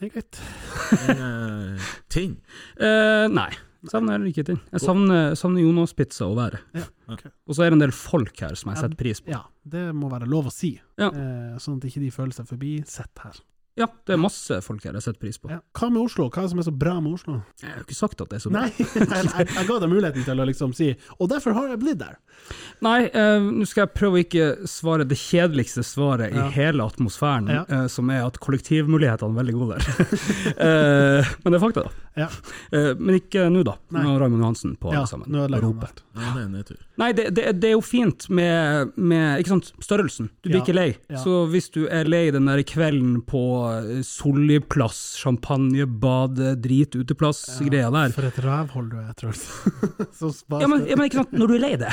Speaker 3: Det er greit.
Speaker 2: Men, eh, ting.
Speaker 4: Eh, nei. Savner heller ikke ting. Jeg savner, savner Jonas-pizza og været.
Speaker 3: Ja, ok.
Speaker 4: Og så er det en del folk her som jeg setter pris på.
Speaker 3: Ja, det må være lov å si,
Speaker 4: Ja.
Speaker 3: eh, sånn at ikke de føler seg forbisett her.
Speaker 4: Ja, det er masse folk her jeg setter pris på.
Speaker 3: Ja. Hva med Oslo? Hva er det som er så bra med Oslo?
Speaker 4: Jeg har jo ikke sagt at det er så bra.
Speaker 3: Nei, jeg, jeg, jeg ga deg muligheten til å liksom si Og derfor har jeg blitt der.
Speaker 4: Nei, eh, nå skal jeg prøve å ikke svare det kjedeligste svaret
Speaker 3: Ja.
Speaker 4: i hele atmosfæren,
Speaker 3: Ja.
Speaker 4: eh, som er at kollektivmulighetene er veldig gode der. eh, men det er fakta,
Speaker 3: Ja.
Speaker 4: da. Eh, men ikke nå, da.
Speaker 3: Nei.
Speaker 4: Nå har Raymond Johansen på
Speaker 3: Ja,
Speaker 4: alle sammen.
Speaker 3: nå ødelegger han
Speaker 4: Roper.
Speaker 3: alt.
Speaker 2: Ja, det er en nedtur.
Speaker 4: Nei, det, det, det er jo fint med, med ikke sant, størrelsen. Du blir
Speaker 3: Ja,
Speaker 4: ikke lei.
Speaker 3: ja.
Speaker 4: Så hvis du er lei den der kvelden på eh, solid plass, champagne, bade, drit, uteplass, greia der
Speaker 3: For et rævhold du er, Truls. så spas
Speaker 4: ja men, ja, men ikke sant, når du er lei det.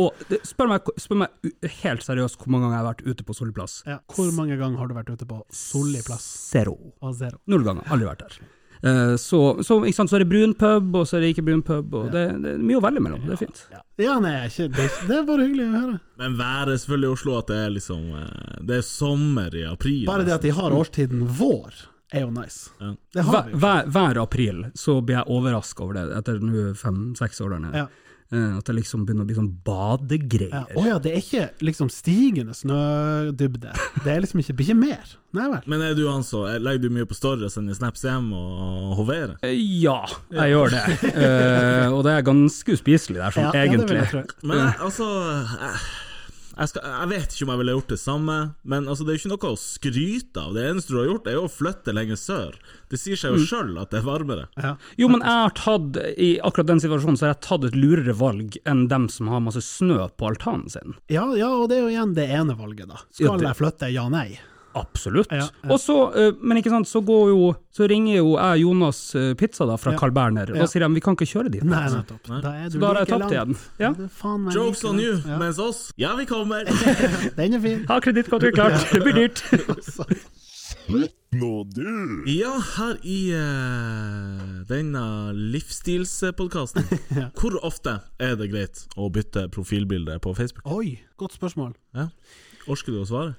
Speaker 4: Og det- spør meg, spør meg u- helt seriøst hvor mange ganger jeg har vært ute på solid plass.
Speaker 3: Ja. Hvor mange ganger har du vært ute på solid plass?
Speaker 4: Zero.
Speaker 3: Og zero.
Speaker 4: Null ganger. Aldri vært der. Eh, Så, så, ikke sant, så er det brun pub, og så er det ikke brun pub, og det, det er mye å velge mellom. Det er fint.
Speaker 3: Ja, nei, ikke, det, det er bare hyggelig å høre.
Speaker 2: Men været er selvfølgelig i Oslo at det er liksom eh, Det er sommer i april.
Speaker 3: Bare det at de har årstiden vår, er jo nice.
Speaker 2: Ja.
Speaker 3: Det har
Speaker 4: Hver,
Speaker 3: vi jo.
Speaker 4: hver, hver april så blir jeg overraska over det, etter nå fem-seks år der nede.
Speaker 3: Ja.
Speaker 4: Eh, At det liksom begynner å bli sånn
Speaker 3: Ja.
Speaker 4: badegreier.
Speaker 3: Å ja, det er ikke liksom stigende snødybde. Det er liksom ikke, blir ikke mer. Nei vel.
Speaker 2: Men er du han som legger du mye på story og sender snaps hjem og hoverer?
Speaker 4: Eh, Ja, jeg gjør det. Eh, og det er ganske uspiselig der, sånn
Speaker 3: Ja, ja, det vil
Speaker 4: egentlig.
Speaker 3: jeg tro.
Speaker 2: Men jeg, altså jeg, jeg, skal, jeg vet ikke om jeg ville gjort det samme, men altså, det er jo ikke noe å skryte av. Det eneste du har gjort, er jo å flytte lenger sør. Det sier seg jo sjøl at det er varmere.
Speaker 3: Mm. Ja.
Speaker 4: Jo, men jeg har tatt, i akkurat den situasjonen, så har jeg tatt et lurere valg enn dem som har masse snø på altanen sin.
Speaker 3: Ja, ja, og det er jo igjen det ene valget, da.
Speaker 4: Ja,
Speaker 3: Skal
Speaker 4: det-
Speaker 3: jeg flytte? Ja, nei.
Speaker 4: Absolutt.
Speaker 3: Ja, ja.
Speaker 4: Og så, eh, men ikke sant, så går jo, så ringer jo jeg Jonas eh, Pizza da, fra
Speaker 3: Ja.
Speaker 4: Carl Berner, og
Speaker 3: Ja.
Speaker 4: da sier de vi kan ikke kjøre dit.
Speaker 3: Nei, nettopp. Da er du
Speaker 4: Så da har jeg
Speaker 3: like
Speaker 4: tapt
Speaker 3: langt.
Speaker 4: igjen. Ja.
Speaker 3: Du er faen meg
Speaker 2: Jokes
Speaker 3: like
Speaker 2: on you,
Speaker 3: langt. Ja.
Speaker 2: mens oss. Ja, vi kommer!
Speaker 3: Den er fin.
Speaker 4: Ha kredittkortet klart, det blir dyrt.
Speaker 5: Nå du.
Speaker 2: Ja, her i eh, denne livsstilspodkasten, hvor ofte er det greit å bytte profilbilde på Facebook?
Speaker 3: Oi, godt spørsmål.
Speaker 2: Ja. Orker du å svare?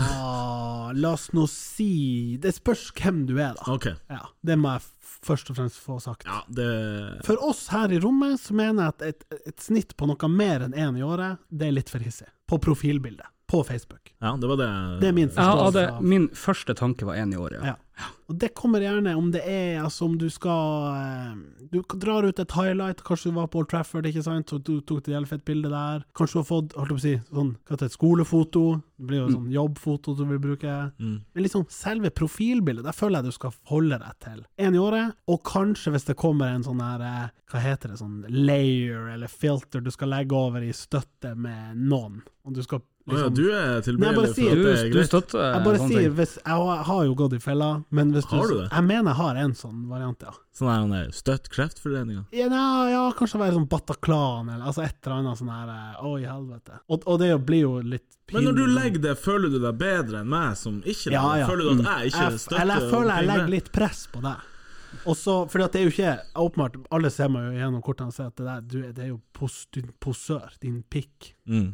Speaker 3: Ja, la oss nå si Det spørs hvem du er, da.
Speaker 2: OK.
Speaker 3: Ja, det må jeg f- først og fremst få sagt.
Speaker 2: Ja, det
Speaker 3: For oss her i rommet så mener jeg at et, et snitt på noe mer enn én i året, det er litt for hissig. På profilbildet. På Facebook.
Speaker 2: Ja, det var det.
Speaker 3: Det er min
Speaker 4: Jeg hadde,
Speaker 3: forståelse av
Speaker 4: min første tanke var én i året. Ja.
Speaker 3: Ja. Og det kommer gjerne om det er altså om du skal eh, Du drar ut et highlight, kanskje du var på Old Trafford, ikke sant, og du tok et jævlig fett bilde der. Kanskje du har fått holdt jeg på å si, sånn, hva heter det, et skolefoto. Det blir jo sånn
Speaker 2: Mm.
Speaker 3: jobbfoto du vil bruke. Men liksom selve profilbildet, der føler jeg du skal holde deg til. Én i året, og kanskje hvis det kommer en sånn her eh, Hva heter det, sånn layer eller filter du skal legge over i støtte med noen, og du skal
Speaker 2: Å ja,
Speaker 3: liksom
Speaker 2: du er
Speaker 3: Nei, jeg bare
Speaker 2: tilbøyelig for at
Speaker 3: sier-
Speaker 4: Du,
Speaker 2: det er
Speaker 4: du
Speaker 2: greit?
Speaker 4: støtter
Speaker 3: jeg bare
Speaker 4: sånne
Speaker 3: sier,
Speaker 4: ting.
Speaker 3: hvis, jeg, har- har jo gått i fella, men hvis
Speaker 2: Eh, Har du det?
Speaker 3: Jeg mener jeg har en sånn variant, ja.
Speaker 2: Sånn er han der Støtt kreftforeninga.
Speaker 3: Ja, nei, ja kanskje være sånn Bataclan, eller altså et eller annet sånn her eh, Oi, helvete. Og, og det blir jo litt
Speaker 2: Men
Speaker 3: pinlig.
Speaker 2: når du legger det, føler du deg bedre enn meg som ikke legger
Speaker 3: Ja,
Speaker 2: det?
Speaker 3: ja. Mm.
Speaker 2: Føler du at jeg ikke
Speaker 3: jeg,
Speaker 2: støtter
Speaker 3: Eller jeg føler jeg
Speaker 2: omkring
Speaker 3: legger
Speaker 2: det?
Speaker 3: litt press på deg. Og så, fordi at det er jo ikke åpenbart, alle ser meg jo gjennom kortene og ser at det der, du, er- det er jo pos, du, er en posør, din pikk.
Speaker 2: Mm.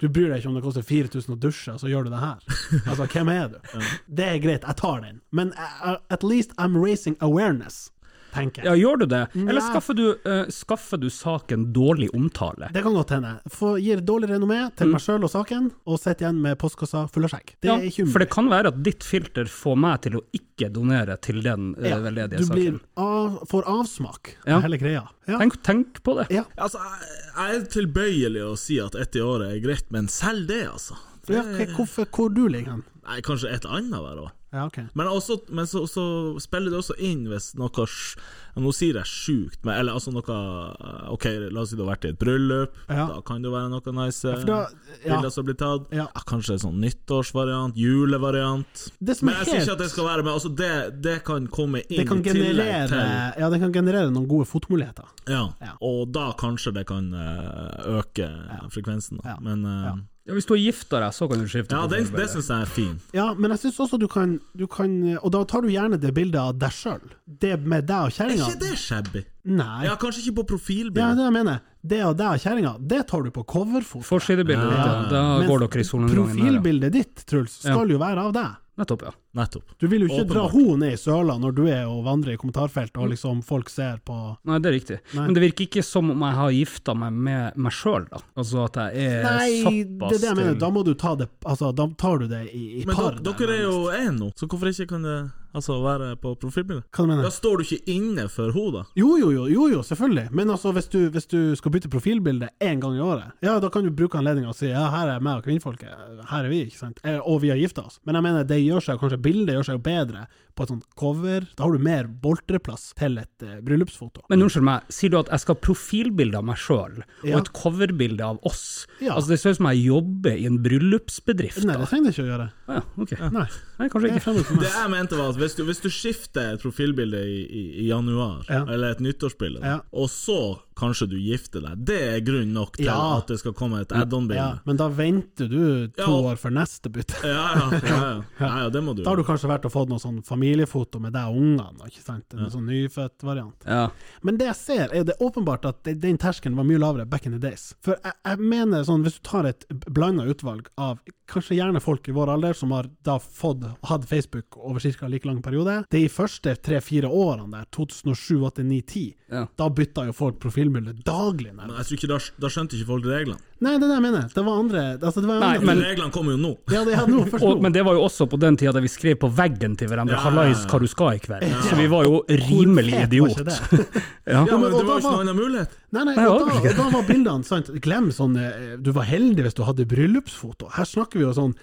Speaker 3: Du bryr deg ikke om det koster 4000 å dusje, og så gjør du det her. Altså, hvem er du? Det er greit, jeg tar den. Men eh, at least I'm raising awareness, tenker jeg.
Speaker 4: Ja, gjør du det?
Speaker 3: Nei.
Speaker 4: Eller skaffer du, eh, skaffer du saken dårlig omtale?
Speaker 3: Det kan godt hende. For gir dårlig renommé til meg sjøl og saken, og sitter igjen med postkassa full av skjegg. Det
Speaker 4: Mm. Ja,
Speaker 3: er ikke
Speaker 4: for
Speaker 3: umulig.
Speaker 4: det kan være at ditt filter får meg til å ikke donere til den eh,
Speaker 3: Ja,
Speaker 4: veldedige
Speaker 3: du blir
Speaker 4: saken.
Speaker 3: av, får avsmak
Speaker 4: Ja.
Speaker 3: av hele greia. Ja.
Speaker 4: Tenk, tenk på det.
Speaker 3: Ja.
Speaker 2: Altså, jeg, jeg er tilbøyelig å si at ett i året er greit, men selv det, altså.
Speaker 3: Ja, ok, hvorfor, hvor du ligger hen?
Speaker 2: Nei, kanskje et annet hver år.
Speaker 3: Ja, ok.
Speaker 2: Men, også, men så, så spiller det også inn hvis noe sj- Nå sier jeg sjukt, men eller altså noe Ok, la oss si du har vært i et bryllup.
Speaker 3: Ja.
Speaker 2: Da kan det jo være noe nice eh,
Speaker 3: for da- ja.
Speaker 2: bilder som blir tatt.
Speaker 3: Ja.
Speaker 2: Kanskje en sånn nyttårsvariant, julevariant.
Speaker 3: Det som
Speaker 2: Men
Speaker 3: er
Speaker 2: jeg sier ikke
Speaker 3: helt
Speaker 2: at det skal være Men altså, det, det kan komme inn
Speaker 3: det kan,
Speaker 2: i tillegg
Speaker 3: generere,
Speaker 2: til
Speaker 3: ja, det kan generere noen gode fotomuligheter.
Speaker 2: ja.
Speaker 3: Ja.
Speaker 2: Og da kanskje det kan eh, øke frekvensen, da.
Speaker 3: Ja.
Speaker 2: Men eh,
Speaker 3: Ja.
Speaker 4: Ja, hvis du har gifta deg, så kan du skifte.
Speaker 2: ja, det, det
Speaker 4: profilbilde.
Speaker 2: syns jeg er fint.
Speaker 3: Ja, men jeg syns også du kan, du kan Og da tar du gjerne det bildet av deg sjøl. Det med deg og
Speaker 2: Er
Speaker 3: kjerringa.
Speaker 2: ikke det shabby?
Speaker 3: Nei.
Speaker 2: Ja, kanskje ikke på
Speaker 3: Det er
Speaker 2: profilbildet.
Speaker 3: det jeg mener. Det av deg og kjerringa, det tar du på coverfoto.
Speaker 4: Forsidebildet ditt, ja. Da
Speaker 3: Men
Speaker 4: går dere i solnedgangen der, ja.
Speaker 3: Profilbildet ditt, Truls, skal jo være av deg.
Speaker 4: Nettopp, ja.
Speaker 2: Nettopp.
Speaker 3: Du vil jo ikke dra
Speaker 2: Åpenbart.
Speaker 3: henne ned i søla når du er og vandrer i kommentarfelt og liksom folk ser på
Speaker 4: Nei, det er riktig.
Speaker 3: Nei.
Speaker 4: Men det virker ikke som om jeg har gifta meg med meg sjøl, da. Altså at jeg er
Speaker 3: Nei, det
Speaker 4: såpass
Speaker 3: er det jeg mener.
Speaker 4: til-
Speaker 3: Da må du ta det Altså, da tar du det i, i
Speaker 2: Men
Speaker 3: par.
Speaker 2: dere, dere er jo én nå, så hvorfor ikke kan det altså, være på profilbildet?
Speaker 3: Hva du mener
Speaker 2: Da står du ikke inne for henne, da.
Speaker 3: Jo, jo, jo, jo, jo, selvfølgelig. Men altså, hvis du, hvis du skal bytte profilbilde én gang i året, ja, da kan du bruke anledninga og si ja, her er meg og kvinnfolket, her er vi, ikke sant, Eh, og vi har gifta oss. Men jeg mener, det gjør seg jo kanskje, bildet gjør seg jo bedre på et sånt cover. Da har du mer boltreplass til et eh, bryllupsfoto.
Speaker 4: Men unnskyld meg, sier du at jeg skal ha profilbilde av meg sjøl,
Speaker 3: Ja.
Speaker 4: og et coverbilde av oss?
Speaker 3: Ja.
Speaker 4: Altså, det ser ut som jeg jobber i en bryllupsbedrift,
Speaker 3: Nei, det
Speaker 4: da.
Speaker 3: trenger det ikke å gjøre.
Speaker 4: Ah, ja, ok.
Speaker 3: Nei,
Speaker 4: Nei, kanskje
Speaker 3: det er
Speaker 4: ikke.
Speaker 3: fremmed for
Speaker 2: Det
Speaker 3: meg.
Speaker 2: jeg mente var at hvis du, hvis du skifter et profilbilde i, i, i januar,
Speaker 3: Ja.
Speaker 2: eller et nyttårsbilde, da,
Speaker 3: Ja.
Speaker 2: og så kanskje du gifter deg, det er grunn nok til
Speaker 3: Ja.
Speaker 2: at det skal komme et
Speaker 3: Ja,
Speaker 2: add-on-bilde.
Speaker 3: men da venter du to
Speaker 2: Ja, og-
Speaker 3: år for neste bytte.
Speaker 2: Ja. Ja, ja, ja, ja, det må du
Speaker 3: Da har du kanskje vært og fått noe sånn familiefoto med deg og ungene, ikke sant? En sånn nyfødt variant.
Speaker 4: Ja.
Speaker 3: Men det jeg ser, er jo det er åpenbart at det- den terskelen var mye lavere back in the days. For jeg, jeg mener sånn, hvis du tar et blanda utvalg av kanskje gjerne folk i vår alder som har da fått og hatt Facebook over ca. like lang periode, de første tre-fire årene der, 2007, 8, 9, 10,
Speaker 4: Ja.
Speaker 3: da bytta jo folk profilbilde daglig.
Speaker 2: Men
Speaker 3: nærmest.
Speaker 2: jeg tror ikke, da, da skjønte ikke folk reglene.
Speaker 3: Nei, det er det jeg mener. Det var andre altså, det var
Speaker 4: Nei,
Speaker 3: andre-
Speaker 2: Men
Speaker 4: Men-
Speaker 2: reglene kommer jo nå.
Speaker 3: Ja, det hadde noe først
Speaker 4: Og,
Speaker 3: nå.
Speaker 4: men det var jo også på den tida da vi skrev på veggen til hverandre
Speaker 2: Ja.
Speaker 4: 'hallais, hva du skal i kveld', så vi var jo rimelig
Speaker 3: Hvor fet var ikke
Speaker 4: idiot.
Speaker 3: det?
Speaker 2: Ja, men
Speaker 3: men- og
Speaker 2: Det var jo sånn
Speaker 3: da
Speaker 2: ikke
Speaker 3: var-
Speaker 2: noen annen mulighet.
Speaker 3: Nei, nei,
Speaker 4: Nei,
Speaker 3: og
Speaker 4: jeg
Speaker 3: da,
Speaker 4: orker
Speaker 3: og da var bildene sant? Glem sånn eh, Du var heldig hvis du hadde bryllupsfoto. Her snakker vi jo sånn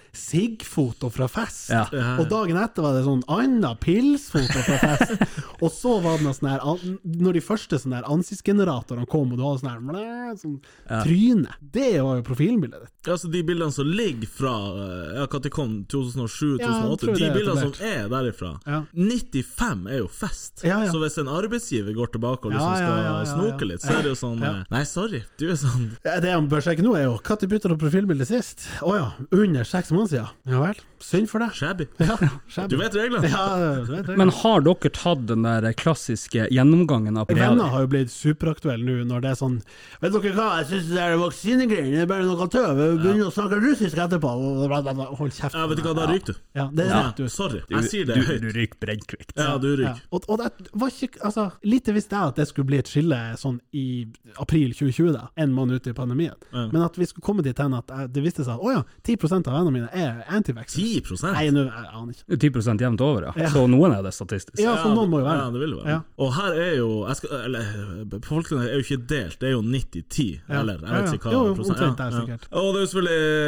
Speaker 3: sigg-foto fra fest.
Speaker 4: Ja.
Speaker 3: Og dagen etter var det sånn anna pils-foto fra fest. og så var det noe sånn her an- Når de første sånne her ansiktsgeneratorene kom, og du hadde sånn her blæ, sånn tryne Det var jo profilbildet ditt.
Speaker 2: Altså De bildene som ligger fra eh, Ja, når de kom?
Speaker 3: Ja, jeg
Speaker 2: 2007-2008?
Speaker 3: tror det
Speaker 2: de
Speaker 3: er
Speaker 2: bildene som
Speaker 3: etablert.
Speaker 2: er derifra,
Speaker 3: Ja.
Speaker 2: 95 er jo fest.
Speaker 3: Ja, ja.
Speaker 2: Så hvis en arbeidsgiver går tilbake og liksom
Speaker 3: Ja, ja,
Speaker 2: skal
Speaker 3: ja, ja, ja.
Speaker 2: snoke litt, så er det jo sånn
Speaker 3: Ja.
Speaker 2: eh, Nei, sorry, du er sånn
Speaker 3: Ja, Det han bør sjekke nå, er jo når bytta du profilbilde sist? Å ja, under seks måneder siden. Ja vel. Synd for deg.
Speaker 2: shabby.
Speaker 3: Ja,
Speaker 2: Du vet reglene.
Speaker 3: Ja, du vet det.
Speaker 4: Men har dere tatt den der klassiske gjennomgangen av
Speaker 3: Venner har jo blitt superaktuelle nå når det er sånn Vet dere hva, jeg syns det er vaksinegreiene det er bare noe tøv, vi begynner å snakke russisk etterpå bla, bla, bla. Hold kjeft.
Speaker 2: Ja, vet du hva, da ryker du.
Speaker 3: Ja, det er
Speaker 2: Ja, Sånn
Speaker 3: rett ut.
Speaker 2: sorry. Jeg sier det høyt.
Speaker 4: ryker brennkvikt.
Speaker 2: Ja, du
Speaker 3: Ja.
Speaker 2: ryker.
Speaker 3: Og, og det var ikke Altså, lite visste jeg at det skulle bli et skille sånn i april 2020, da, en måned ut i pandemien,
Speaker 2: Ja.
Speaker 3: men at vi skulle komme dit hen at jeg, det viste seg at å ja, 10 av vennene mine er antivaxxere.
Speaker 2: 10
Speaker 3: Nei, nå jeg aner ikke.
Speaker 4: 10 jevnt over, ja.
Speaker 3: Ja.
Speaker 4: Så noen er det statistisk.
Speaker 3: Ja, så Altså, noen må jo
Speaker 2: Ja,
Speaker 3: være
Speaker 2: det vil det være.
Speaker 3: Ja.
Speaker 2: Og her er jo jeg skal, eller, Befolkningen er jo ikke delt, det er jo 90-10,
Speaker 3: Ja.
Speaker 2: eller jeg
Speaker 3: Ja, ja.
Speaker 2: vet ikke hva
Speaker 3: Jo, jo,
Speaker 2: prosent-
Speaker 3: omtrent der, sikkert.
Speaker 2: Og det er jo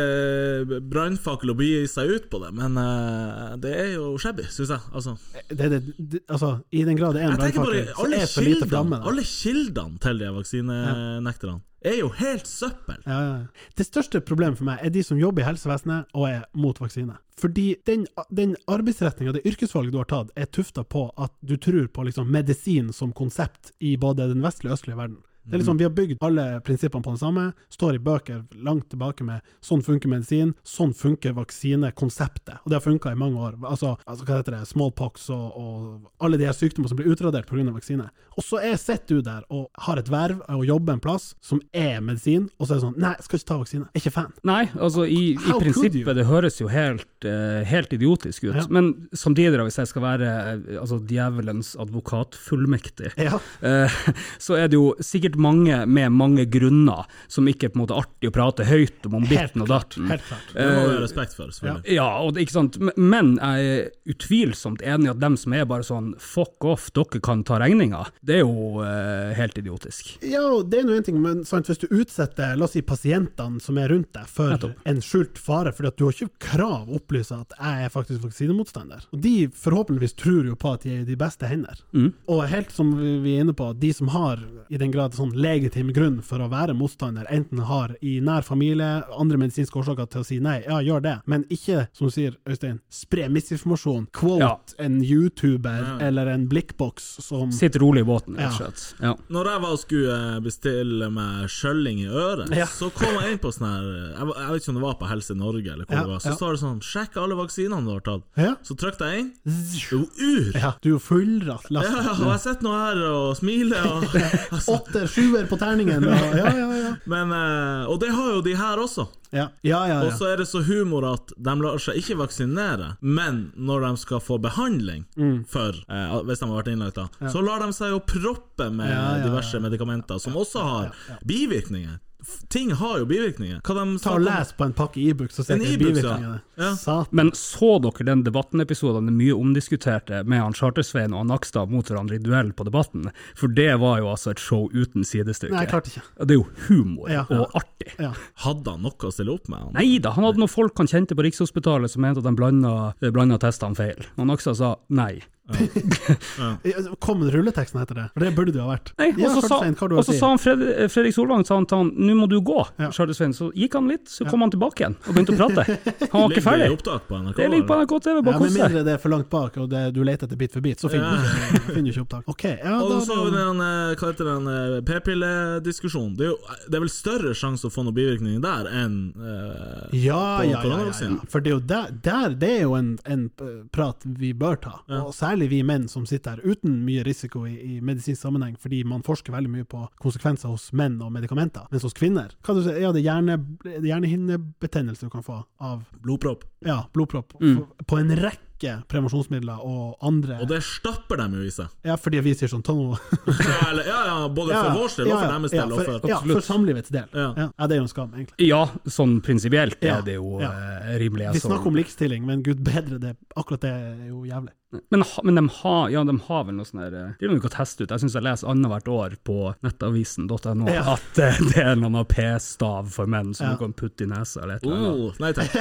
Speaker 2: selvfølgelig eh, brannfakkel å begi seg ut på det, men eh, det er jo shabby, syns jeg. Altså,
Speaker 3: det, det, det, Altså, i den grad det er en
Speaker 2: jeg tenker
Speaker 3: brannfakkel,
Speaker 2: bare
Speaker 3: så
Speaker 2: alle
Speaker 3: er for lite
Speaker 2: kildene,
Speaker 3: flamme der.
Speaker 2: alle kildene til de vaksinenekterne er jo helt søppel.
Speaker 3: Ja, ja. Det største problemet for meg er de som jobber i helsevesenet og er mot vaksine. Fordi den, den arbeidsretninga, det yrkesvalget du har tatt, er tufta på at du tror på liksom medisin som konsept i både den vestlige og østlige verden. Det er liksom, Vi har bygd alle prinsippene på det samme, står i bøker langt tilbake med sånn funker medisin, sånn funker vaksinekonseptet. Og det har funka i mange år. Altså, altså hva heter det, smallpox og, og alle de her sykdommer som blir utradert pga. vaksine. Og så er- sitter du der og har et verv og jobber en plass som er medisin, og så er det sånn Nei, jeg skal ikke ta vaksine. Jeg er ikke fan.
Speaker 4: Nei, altså i, i
Speaker 3: How could you?
Speaker 4: prinsippet, det høres jo helt, eh, helt idiotisk ut.
Speaker 3: Ja.
Speaker 4: Men samtidig, da, hvis jeg skal være eh, altså, djevelens advokatfullmektig,
Speaker 3: Ja.
Speaker 4: eh, så er det jo sikkert sikkert mange med mange grunner som ikke er på en måte artig å prate høyt om om
Speaker 3: Helt
Speaker 4: ditten og
Speaker 3: klart.
Speaker 4: datten.
Speaker 3: Helt klart.
Speaker 2: Det må vi ha respekt for, selvfølgelig.
Speaker 4: Ja, og det, ikke sant? Men- men jeg er utvilsomt enig i at dem som er bare sånn fuck off, dere kan ta regninga, det er jo eh, helt idiotisk.
Speaker 3: Ja, og det er nå en ting, men sant, hvis du utsetter la oss si, pasientene som er rundt deg, for
Speaker 4: Nettopp.
Speaker 3: en skjult fare, fordi at du har ikke krav å opplyse at jeg er faktisk vaksinemotstander. Og de forhåpentligvis tror jo på at de er i de beste hender.
Speaker 4: Mm.
Speaker 3: Og helt som vi vi er inne på, de som har i den grad sånn legitim grunn for å være motstander, enten har i nær familie andre medisinske årsaker til å si nei, ja, gjør det, men ikke, som du sier, Øystein, spre misinformasjon, quote
Speaker 4: Ja.
Speaker 3: en YouTuber eller en blikkboks som
Speaker 4: Sitt rolig i båten, rett
Speaker 3: Ja.
Speaker 4: og slett. Ja.
Speaker 2: Når jeg var og skulle eh, bestille meg kjølling i øret,
Speaker 3: Ja.
Speaker 2: så kom jeg inn på sånn her jeg, var- jeg vet ikke om det var på Helse Norge, eller hvor
Speaker 3: Ja,
Speaker 2: det var. Så
Speaker 3: ja.
Speaker 2: står det sånn 'Sjekk alle vaksinene du har tatt'.
Speaker 3: Ja.
Speaker 2: Så trykte jeg inn. Det er jo ur!
Speaker 3: ja, du er jo fullratt
Speaker 2: Ja,
Speaker 3: lasta.
Speaker 2: og jeg sitter nå her og smiler. Og, altså,
Speaker 3: Åtter, sjuer på terningen. Og, ja, ja, ja.
Speaker 2: men, eh, og det har jo de her også.
Speaker 3: Ja, ja, ja,
Speaker 2: Og
Speaker 3: ja.
Speaker 2: så er det så humor at de lar seg ikke vaksinere, men når de skal få behandling
Speaker 4: Mm.
Speaker 2: for eh, Hvis de har vært innlagt, da, så lar de seg jo proppe med
Speaker 3: Ja, ja, ja.
Speaker 2: diverse medikamenter som også har bivirkninger. F- Ting har jo bivirkninger. Hva de
Speaker 3: Ta og Les på en pakke Ibux, så ser
Speaker 2: En
Speaker 3: du
Speaker 2: Ibux, ja.
Speaker 3: bivirkningene.
Speaker 2: Ja.
Speaker 3: Satan.
Speaker 4: Men så dere den debatten-episoden, den mye omdiskuterte, med han Charter-Svein og han Nakstad mot hverandre i duell på Debatten? For det var jo altså et show uten sidestykke.
Speaker 3: Nei, klart ikke.
Speaker 4: Ja, Det er jo humor
Speaker 3: Ja.
Speaker 4: og artig.
Speaker 3: Ja.
Speaker 2: Hadde han noe å stille opp med? Han?
Speaker 4: Nei da, han hadde noen folk han kjente på Rikshospitalet som mente at de blanda, eh, blanda testene feil. Og Nakstad sa nei.
Speaker 3: Kom med rulleteksten, heter det. For det burde det jo ha vært.
Speaker 4: Nei,
Speaker 3: Ja,
Speaker 4: og så sa,
Speaker 3: Karlstein, hva har du å
Speaker 4: og så
Speaker 3: si?
Speaker 4: sa han Fred, eh, Fredrik Solvang sa han til han nå må du gå,
Speaker 3: Ja.
Speaker 4: Charter-Svein. Så gikk han litt, så kom han tilbake igjen og begynte å prate. Han var
Speaker 2: Ligger
Speaker 4: ikke
Speaker 2: det
Speaker 4: ferdig.
Speaker 2: i opptak på NRK?
Speaker 4: Det ligger på
Speaker 2: eller?
Speaker 4: NRK TV,
Speaker 3: ja,
Speaker 4: bare
Speaker 3: Med
Speaker 4: kos deg.
Speaker 3: mindre det er for langt bak, og det, du leter etter bit for bit, så finner du ikke- finner du ikke opptak. Ok, ja,
Speaker 2: Og
Speaker 3: da,
Speaker 2: så har vi den, eh, hva heter den eh, p-pillediskusjonen. Det, er jo- eh, det er vel større sjanse å få noen bivirkninger der enn eh,
Speaker 3: ja,
Speaker 2: på
Speaker 3: ja, ja, ja, ja.
Speaker 2: koronavaksinen.
Speaker 3: For det er jo der, der det er jo en, en eh, prat vi bør ta, og særlig vi menn som sitter her uten mye risiko i, i medisinsk sammenheng, fordi man forsker veldig mye på konsekvenser hos menn og medikamenter, mens hos kvinner kan du si, ja, det er hjerne, det er hjernehinnebetennelse du kan få av
Speaker 2: blodpropp.
Speaker 3: ja, blodpropp f- på en rekke prevensjonsmidler og andre
Speaker 2: Mm. Og det stapper de jo i seg.
Speaker 3: Ja, fordi vi sier sånn ta nå
Speaker 2: Ja, eller, ja, ja, både
Speaker 3: Ja,
Speaker 2: for vår del og for deres del. og
Speaker 3: ja,
Speaker 2: for,
Speaker 3: ja, for samlivets del. Ja.
Speaker 2: Ja.
Speaker 3: det er jo en skam, egentlig.
Speaker 4: Ja, sånn prinsipielt
Speaker 3: Ja,
Speaker 4: er det jo
Speaker 3: ja.
Speaker 4: eh, rimelig.
Speaker 3: Vi
Speaker 4: altså.
Speaker 3: snakker om likestilling, men gud bedre, det, akkurat det er jo jævlig.
Speaker 4: Men, ha- men de, har, ja, de har vel noe sånn her eh, Det er noe å teste ut. Jeg syns jeg leser annethvert år på nettavisen.no
Speaker 3: Ja.
Speaker 4: at eh, det er en eller annen p-stav for menn som
Speaker 3: Ja.
Speaker 4: du kan putte i nesa eller et eller annet.
Speaker 2: oh, nei takk.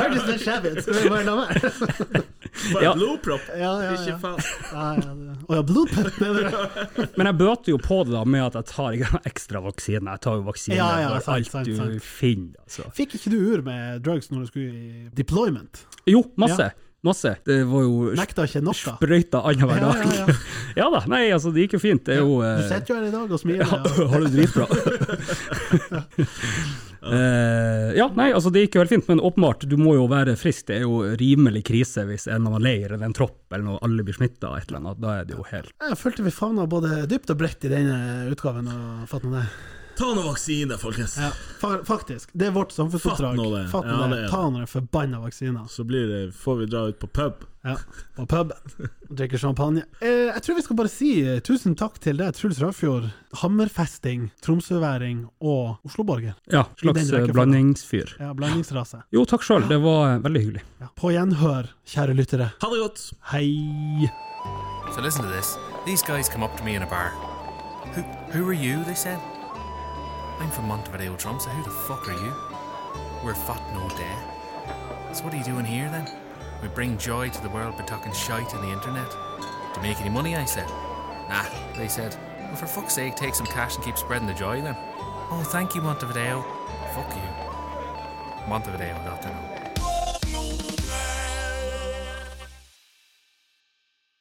Speaker 3: Hørtes det skjev ut? Skal vi bare la være?
Speaker 2: For
Speaker 4: Ja.
Speaker 2: en blodpropp!
Speaker 3: Ja, ja, ja.
Speaker 2: Ikke faen.
Speaker 3: Nei, ja, det- Å ja, blodpropp, mener du?
Speaker 4: Men jeg bøter jo på det da med at jeg tar ikke noen ekstra vaksine. Jeg tar jo vaksine
Speaker 3: Ja, ja,
Speaker 4: for
Speaker 3: sant,
Speaker 4: alt
Speaker 3: sant,
Speaker 4: du
Speaker 3: sant.
Speaker 4: finner. Altså.
Speaker 3: Fikk ikke du ur med drugs når du skulle i deployment?
Speaker 4: Jo, masse. Masse. Det var jo
Speaker 3: Nekta ikke noe?
Speaker 4: sprøyta annenhver
Speaker 3: Ja,
Speaker 4: dag.
Speaker 3: ja,
Speaker 4: Ja,
Speaker 3: ja.
Speaker 4: da, nei, altså det gikk jo fint. Det er jo
Speaker 3: Du
Speaker 4: eh,
Speaker 3: sitter jo her i dag og smiler.
Speaker 4: Ja,
Speaker 3: Ja.
Speaker 4: har du dritbra? Eh, ja, nei, altså det gikk jo helt fint, men åpenbart, du må jo være frisk. Det er jo rimelig krise hvis en av en leir eller en tropp eller noe, alle blir smitta av et eller annet. Da er det jo helt
Speaker 3: Jeg følte vi favna både dypt og bredt i denne utgaven. og fatt nå det.
Speaker 2: Ta nå vaksine, folkens!
Speaker 3: Ja, fa faktisk. Det er vårt samfunnsoppdrag.
Speaker 2: Fatt nå det.
Speaker 3: Fatt nå
Speaker 2: Ja,
Speaker 3: det.
Speaker 2: det er
Speaker 3: Ta noen forbanna vaksiner.
Speaker 2: Så blir det, får vi dra ut på pub.
Speaker 3: Ja, på puben. Drikker champagne. Eh, jeg tror vi skal bare si eh, tusen takk til deg, Truls Rafjord. Hammerfesting, tromsøværing og osloborger.
Speaker 4: Ja,
Speaker 3: I
Speaker 4: slags
Speaker 3: den
Speaker 4: eh,
Speaker 3: rekkefølgen.
Speaker 4: blandingsfyr.
Speaker 3: Ja, Blandingsrase.
Speaker 4: Jo, takk sjøl, det var eh, veldig hyggelig.
Speaker 3: Ja. På gjenhør, kjære lyttere.
Speaker 2: Ha det godt!
Speaker 3: Hei.
Speaker 1: So listen to this. These guys come up to me in a bar. Who who are you? They said. I'm from Montevideo Drum, so who the fuck are you? We're fat no day. So what are you doing here then? We bring joy to the world by talking shite on the internet. To make any money, I said. Nah, they said. Well, for fuck's sake, take some cash and keep spreading the joy then. Oh, thank you, Montevideo. Fuck you. Montevideo, not to know.